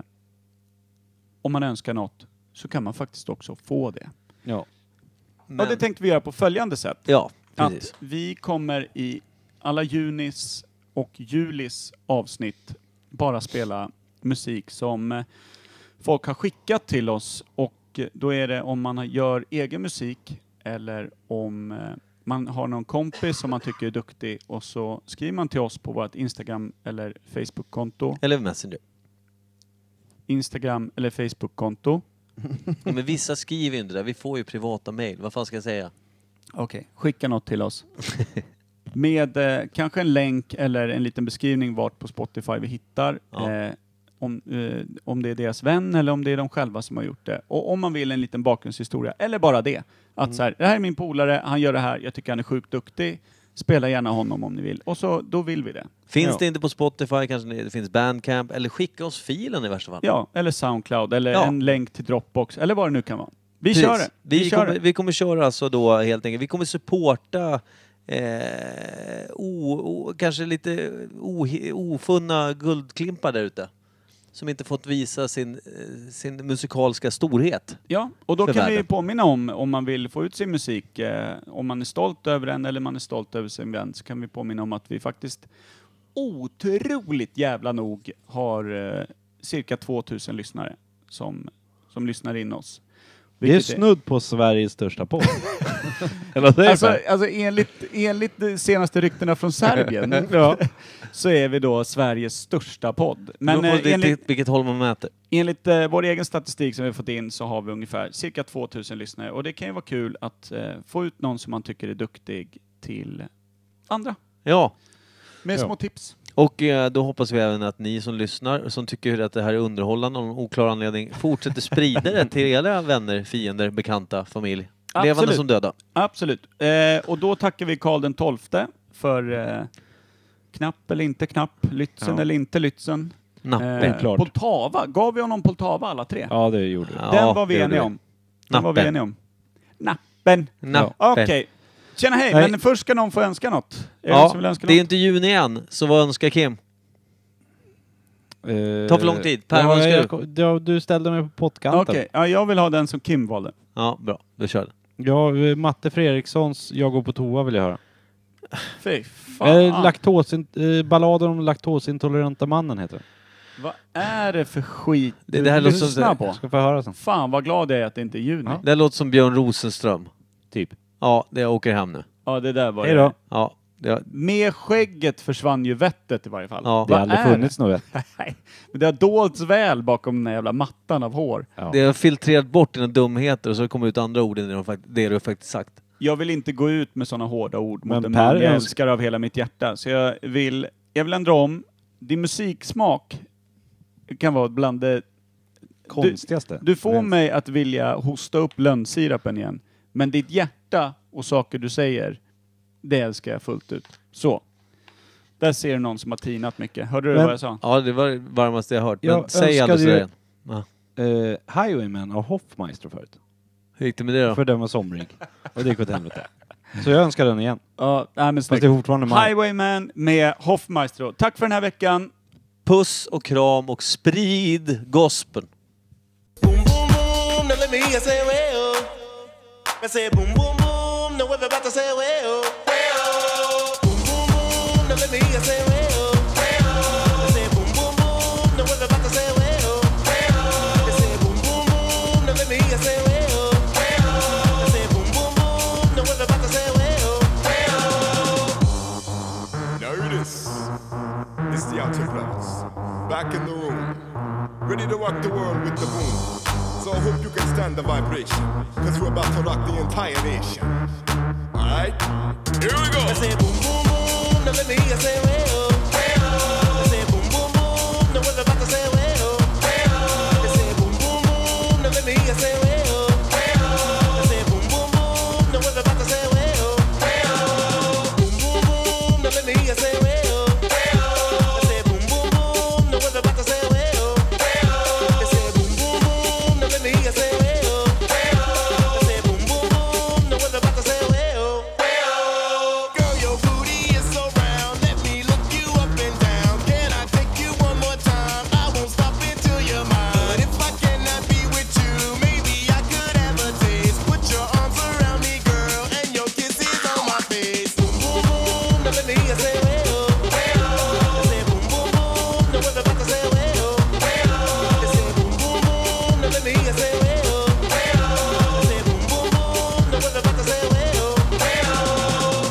S3: om man önskar något så kan man faktiskt också få det.
S2: Ja.
S3: Och det tänkte vi göra på följande sätt.
S1: Ja, precis.
S3: Att vi kommer i alla junis och julis avsnitt bara spela musik som eh, folk har skickat till oss och eh, då är det om man gör egen musik eller om eh, man har någon kompis som man tycker är duktig och så skriver man till oss på vårt Instagram eller Facebook-konto.
S1: Eller Messenger.
S3: Instagram eller Facebook-konto.
S1: Ja, men vissa skriver ju inte det. Vi får ju privata mejl. Vad fan ska jag säga?
S3: Okej. Skicka något till oss. Med eh, kanske en länk eller en liten beskrivning vart på Spotify vi hittar.
S1: Ja.
S3: Eh, om, eh, om det är deras vän eller om det är de själva som har gjort det. Och om man vill en liten bakgrundshistoria, eller bara det. Att
S1: Mm.
S3: så här, det här är min polare, han gör det här, jag tycker han är sjukt duktig. Spela gärna honom om ni vill. Och så, då vill vi det.
S1: Finns
S3: ja.
S1: det inte på Spotify kanske det finns Bandcamp. Eller skicka oss filen i värsta fall.
S3: Ja, eller Soundcloud, eller
S1: Ja.
S3: en länk till Dropbox, eller vad det nu kan vara. Vi
S1: Precis.
S3: kör det!
S1: Vi,
S3: kör
S1: kommer,
S3: det.
S1: vi kommer köra alltså då helt enkelt. Vi kommer supporta eh, o, o, kanske lite o, ofunna guldklimpar där ute. Som inte fått visa sin, eh, sin musikaliska storhet.
S3: Ja, och då
S1: för
S3: kan vi
S1: världen.
S3: påminna om, om man vill få ut sin musik, eh, om man är stolt över den eller man är stolt över sin vän, så kan vi påminna om att vi faktiskt otroligt jävla nog har eh, cirka 2000 lyssnare som, som lyssnar in oss.
S2: Det är
S3: Vilket
S2: snudd på Sveriges största podd. Eller vad säger
S3: Alltså,
S2: Per?
S3: alltså enligt, enligt de senaste ryktena från Serbien
S2: Ja.
S3: så är vi då Sveriges största podd. Men
S1: Men,
S3: eh,
S1: på
S3: enligt,
S1: vilket, vilket håll man mäter.
S3: Enligt eh, vår egen statistik som vi har fått in så har vi ungefär cirka 2000 lyssnare och det kan ju vara kul att eh, få ut någon som man tycker är duktig till andra
S1: Ja,
S3: med
S2: Ja.
S3: små tips.
S1: Och eh, då hoppas vi även att ni som lyssnar, som tycker att det här är underhållande av någon oklar anledning, fortsätter sprida det till era vänner, fiender, bekanta, familj.
S3: Absolut.
S1: Levande som döda.
S3: Absolut. Eh, och då tackar vi Karl den XII för eh, knapp eller inte knapp, Lützen
S2: Ja.
S3: eller inte Lützen.
S1: Napp.
S3: Eh,
S2: klart.
S3: Poltava, gav vi honom Poltava alla tre?
S2: Ja, det gjorde du.
S1: Ja,
S3: Den var vi
S1: det
S3: eniga
S1: gjorde
S3: om. Den var vi
S1: Nappen.
S3: eniga om. Nappen.
S1: Nappen.
S3: Okej. Tjena hej,
S2: Nej.
S3: men först ska någon få önska något. Är det någon
S1: Ja,
S3: som vill önska
S1: det är
S3: något?
S1: ju inte juni än, så vad önskar Kim? Tar för lång tid. Per, vad
S2: Eh, ja,
S1: önskar du?
S2: jag, kom- ja, du ställde mig på pottkanten.
S3: Okej, ja, jag vill ha den som Kim valde.
S1: Ja, bra. Då kör den.
S2: Ja, eh, Matte Fredrikssons Jag går på toa vill jag höra.
S3: Fy
S2: Eh,
S3: fan.
S2: laktosin, eh, balladen om laktosintoleranta mannen heter den.
S3: vad är det för skit
S1: Det-
S3: du
S1: det här låter som-
S3: lyssnar på?
S2: Jag ska få höra sen.
S3: Fan vad glad jag är att det inte är juni. Ja,
S1: Det här låter som Björn Rosenström.
S2: Typ.
S1: Ja, det jag åker hem nu.
S3: det där var
S2: Hej
S3: det.
S2: då.
S1: Ja, det,
S3: Med skägget försvann ju vettet i varje fall.
S1: Ja.
S2: Det har
S3: Vad
S2: aldrig
S3: är
S2: funnits något.
S3: det? Nej, men det har dolts väl bakom den här jävla mattan av hår.
S1: det har filtrerat bort dina dumheter och så kommer ut andra ord än det de fakt- det du faktiskt sagt.
S3: jag vill inte gå ut med sådana hårda ord mot
S2: Men
S3: en
S2: Per
S3: man jag
S2: önsk-
S3: älskar av hela mitt hjärta. Så jag vill, jag vill ändra om. Din musiksmak kan vara bland det
S2: Konstigaste.
S3: Du, du får mig att vilja hosta upp lönnsirapen igen. Men ditt hjärta och saker du säger, det älskar jag fullt ut. Så. Där ser du någon som har tinat mycket. Hörde du
S2: Men-
S3: vad jag sa?
S1: Ja, det var det varmaste jag hört. Men
S2: Jag
S1: säg
S2: önskade
S1: Anders
S2: ju-
S1: det igen. Ja.
S2: Eh, Highwayman av Hoffmeister förut.
S1: Hur gick det med det då?
S2: För den var somrig. Och det gick åt helvete. Så jag önskar den igen.
S3: Ja, nej, men
S2: Fast det är fortfarande maj.
S3: Highwayman med Hoffmaestro. Tack för den här veckan.
S1: Puss och kram och sprid gospeln.
S13: boom, now let me hear you say well. I say boom, boom, boom, now everybody say well. Well. Boom, boom, boom, now let me hear you say well. Well. I say boom, boom, boom, now everybody say well. Well. I say boom, boom, boom, now let me hear you say well. Well. I say boom, boom, boom, now everybody say well. Well.
S10: Notice. It's the Outlaws. Back in the room. Ready to rock the world with the boom. So I hope you can stand the vibration. Cause we're about to rock the entire nation. Alright? Here we go.
S13: I say boom, boom, boom, now let me hear you say well. Well. I say boom, boom, boom, now everybody say well. Well. I say boom, boom, boom, now let me hear you say well. Well. I say boom, boom, boom, now everybody say well. Well. Boom, boom, boom, now let me hear you say well. Well. I say boom, boom, boom, now everybody say well. Well. I say boom, boom, boom, now let me hear you say well. Well. I say boom, boom, boom, now everybody say well. Well.
S10: Girl, your booty is so round. Let me look you up and down. Can I take you one more time? I won't stop until you're mine. But if I cannot be with you, maybe I could have a taste. Put your arms around me, girl, and your kiss is on my face. Boom, boom, boom, now let me hear you say well. Well. I say boom, boom, boom, now everybody say well. Well. I say boom, boom, boom, now let me hear you say well. Well. I say boom, boom, boom, now everybody say well. Well.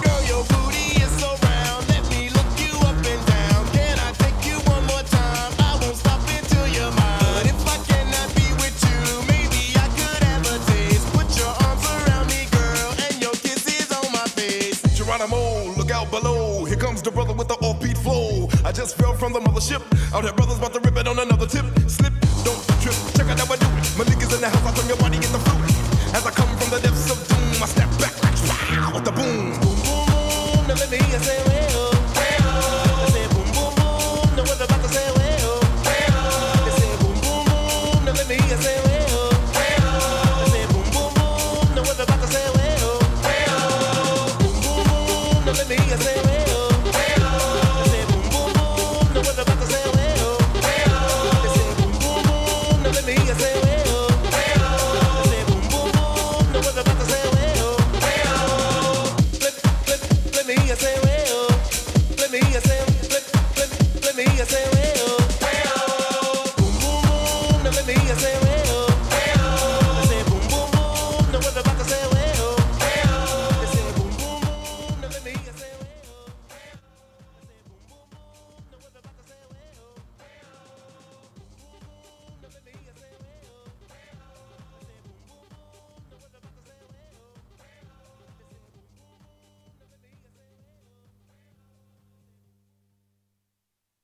S10: Girl, your booty is so round. Let me look you up and down. Can I take you one more time? I won't stop until you're mine. But if I cannot be with you, maybe I could have a taste. Put your arms around me, girl, and your kiss is on my face.
S6: Geronimo, look out below. Here comes the brother with the offbeat flow. I just fell from the mothership. Out here, brothers about to rip it on another tip. Slip, don't trip. Check out how I do it. Malik is in the house. I turn your body into fluid. As I come from the depths of doom, I snap back like wow with the boom.
S13: Now let me hear you say well.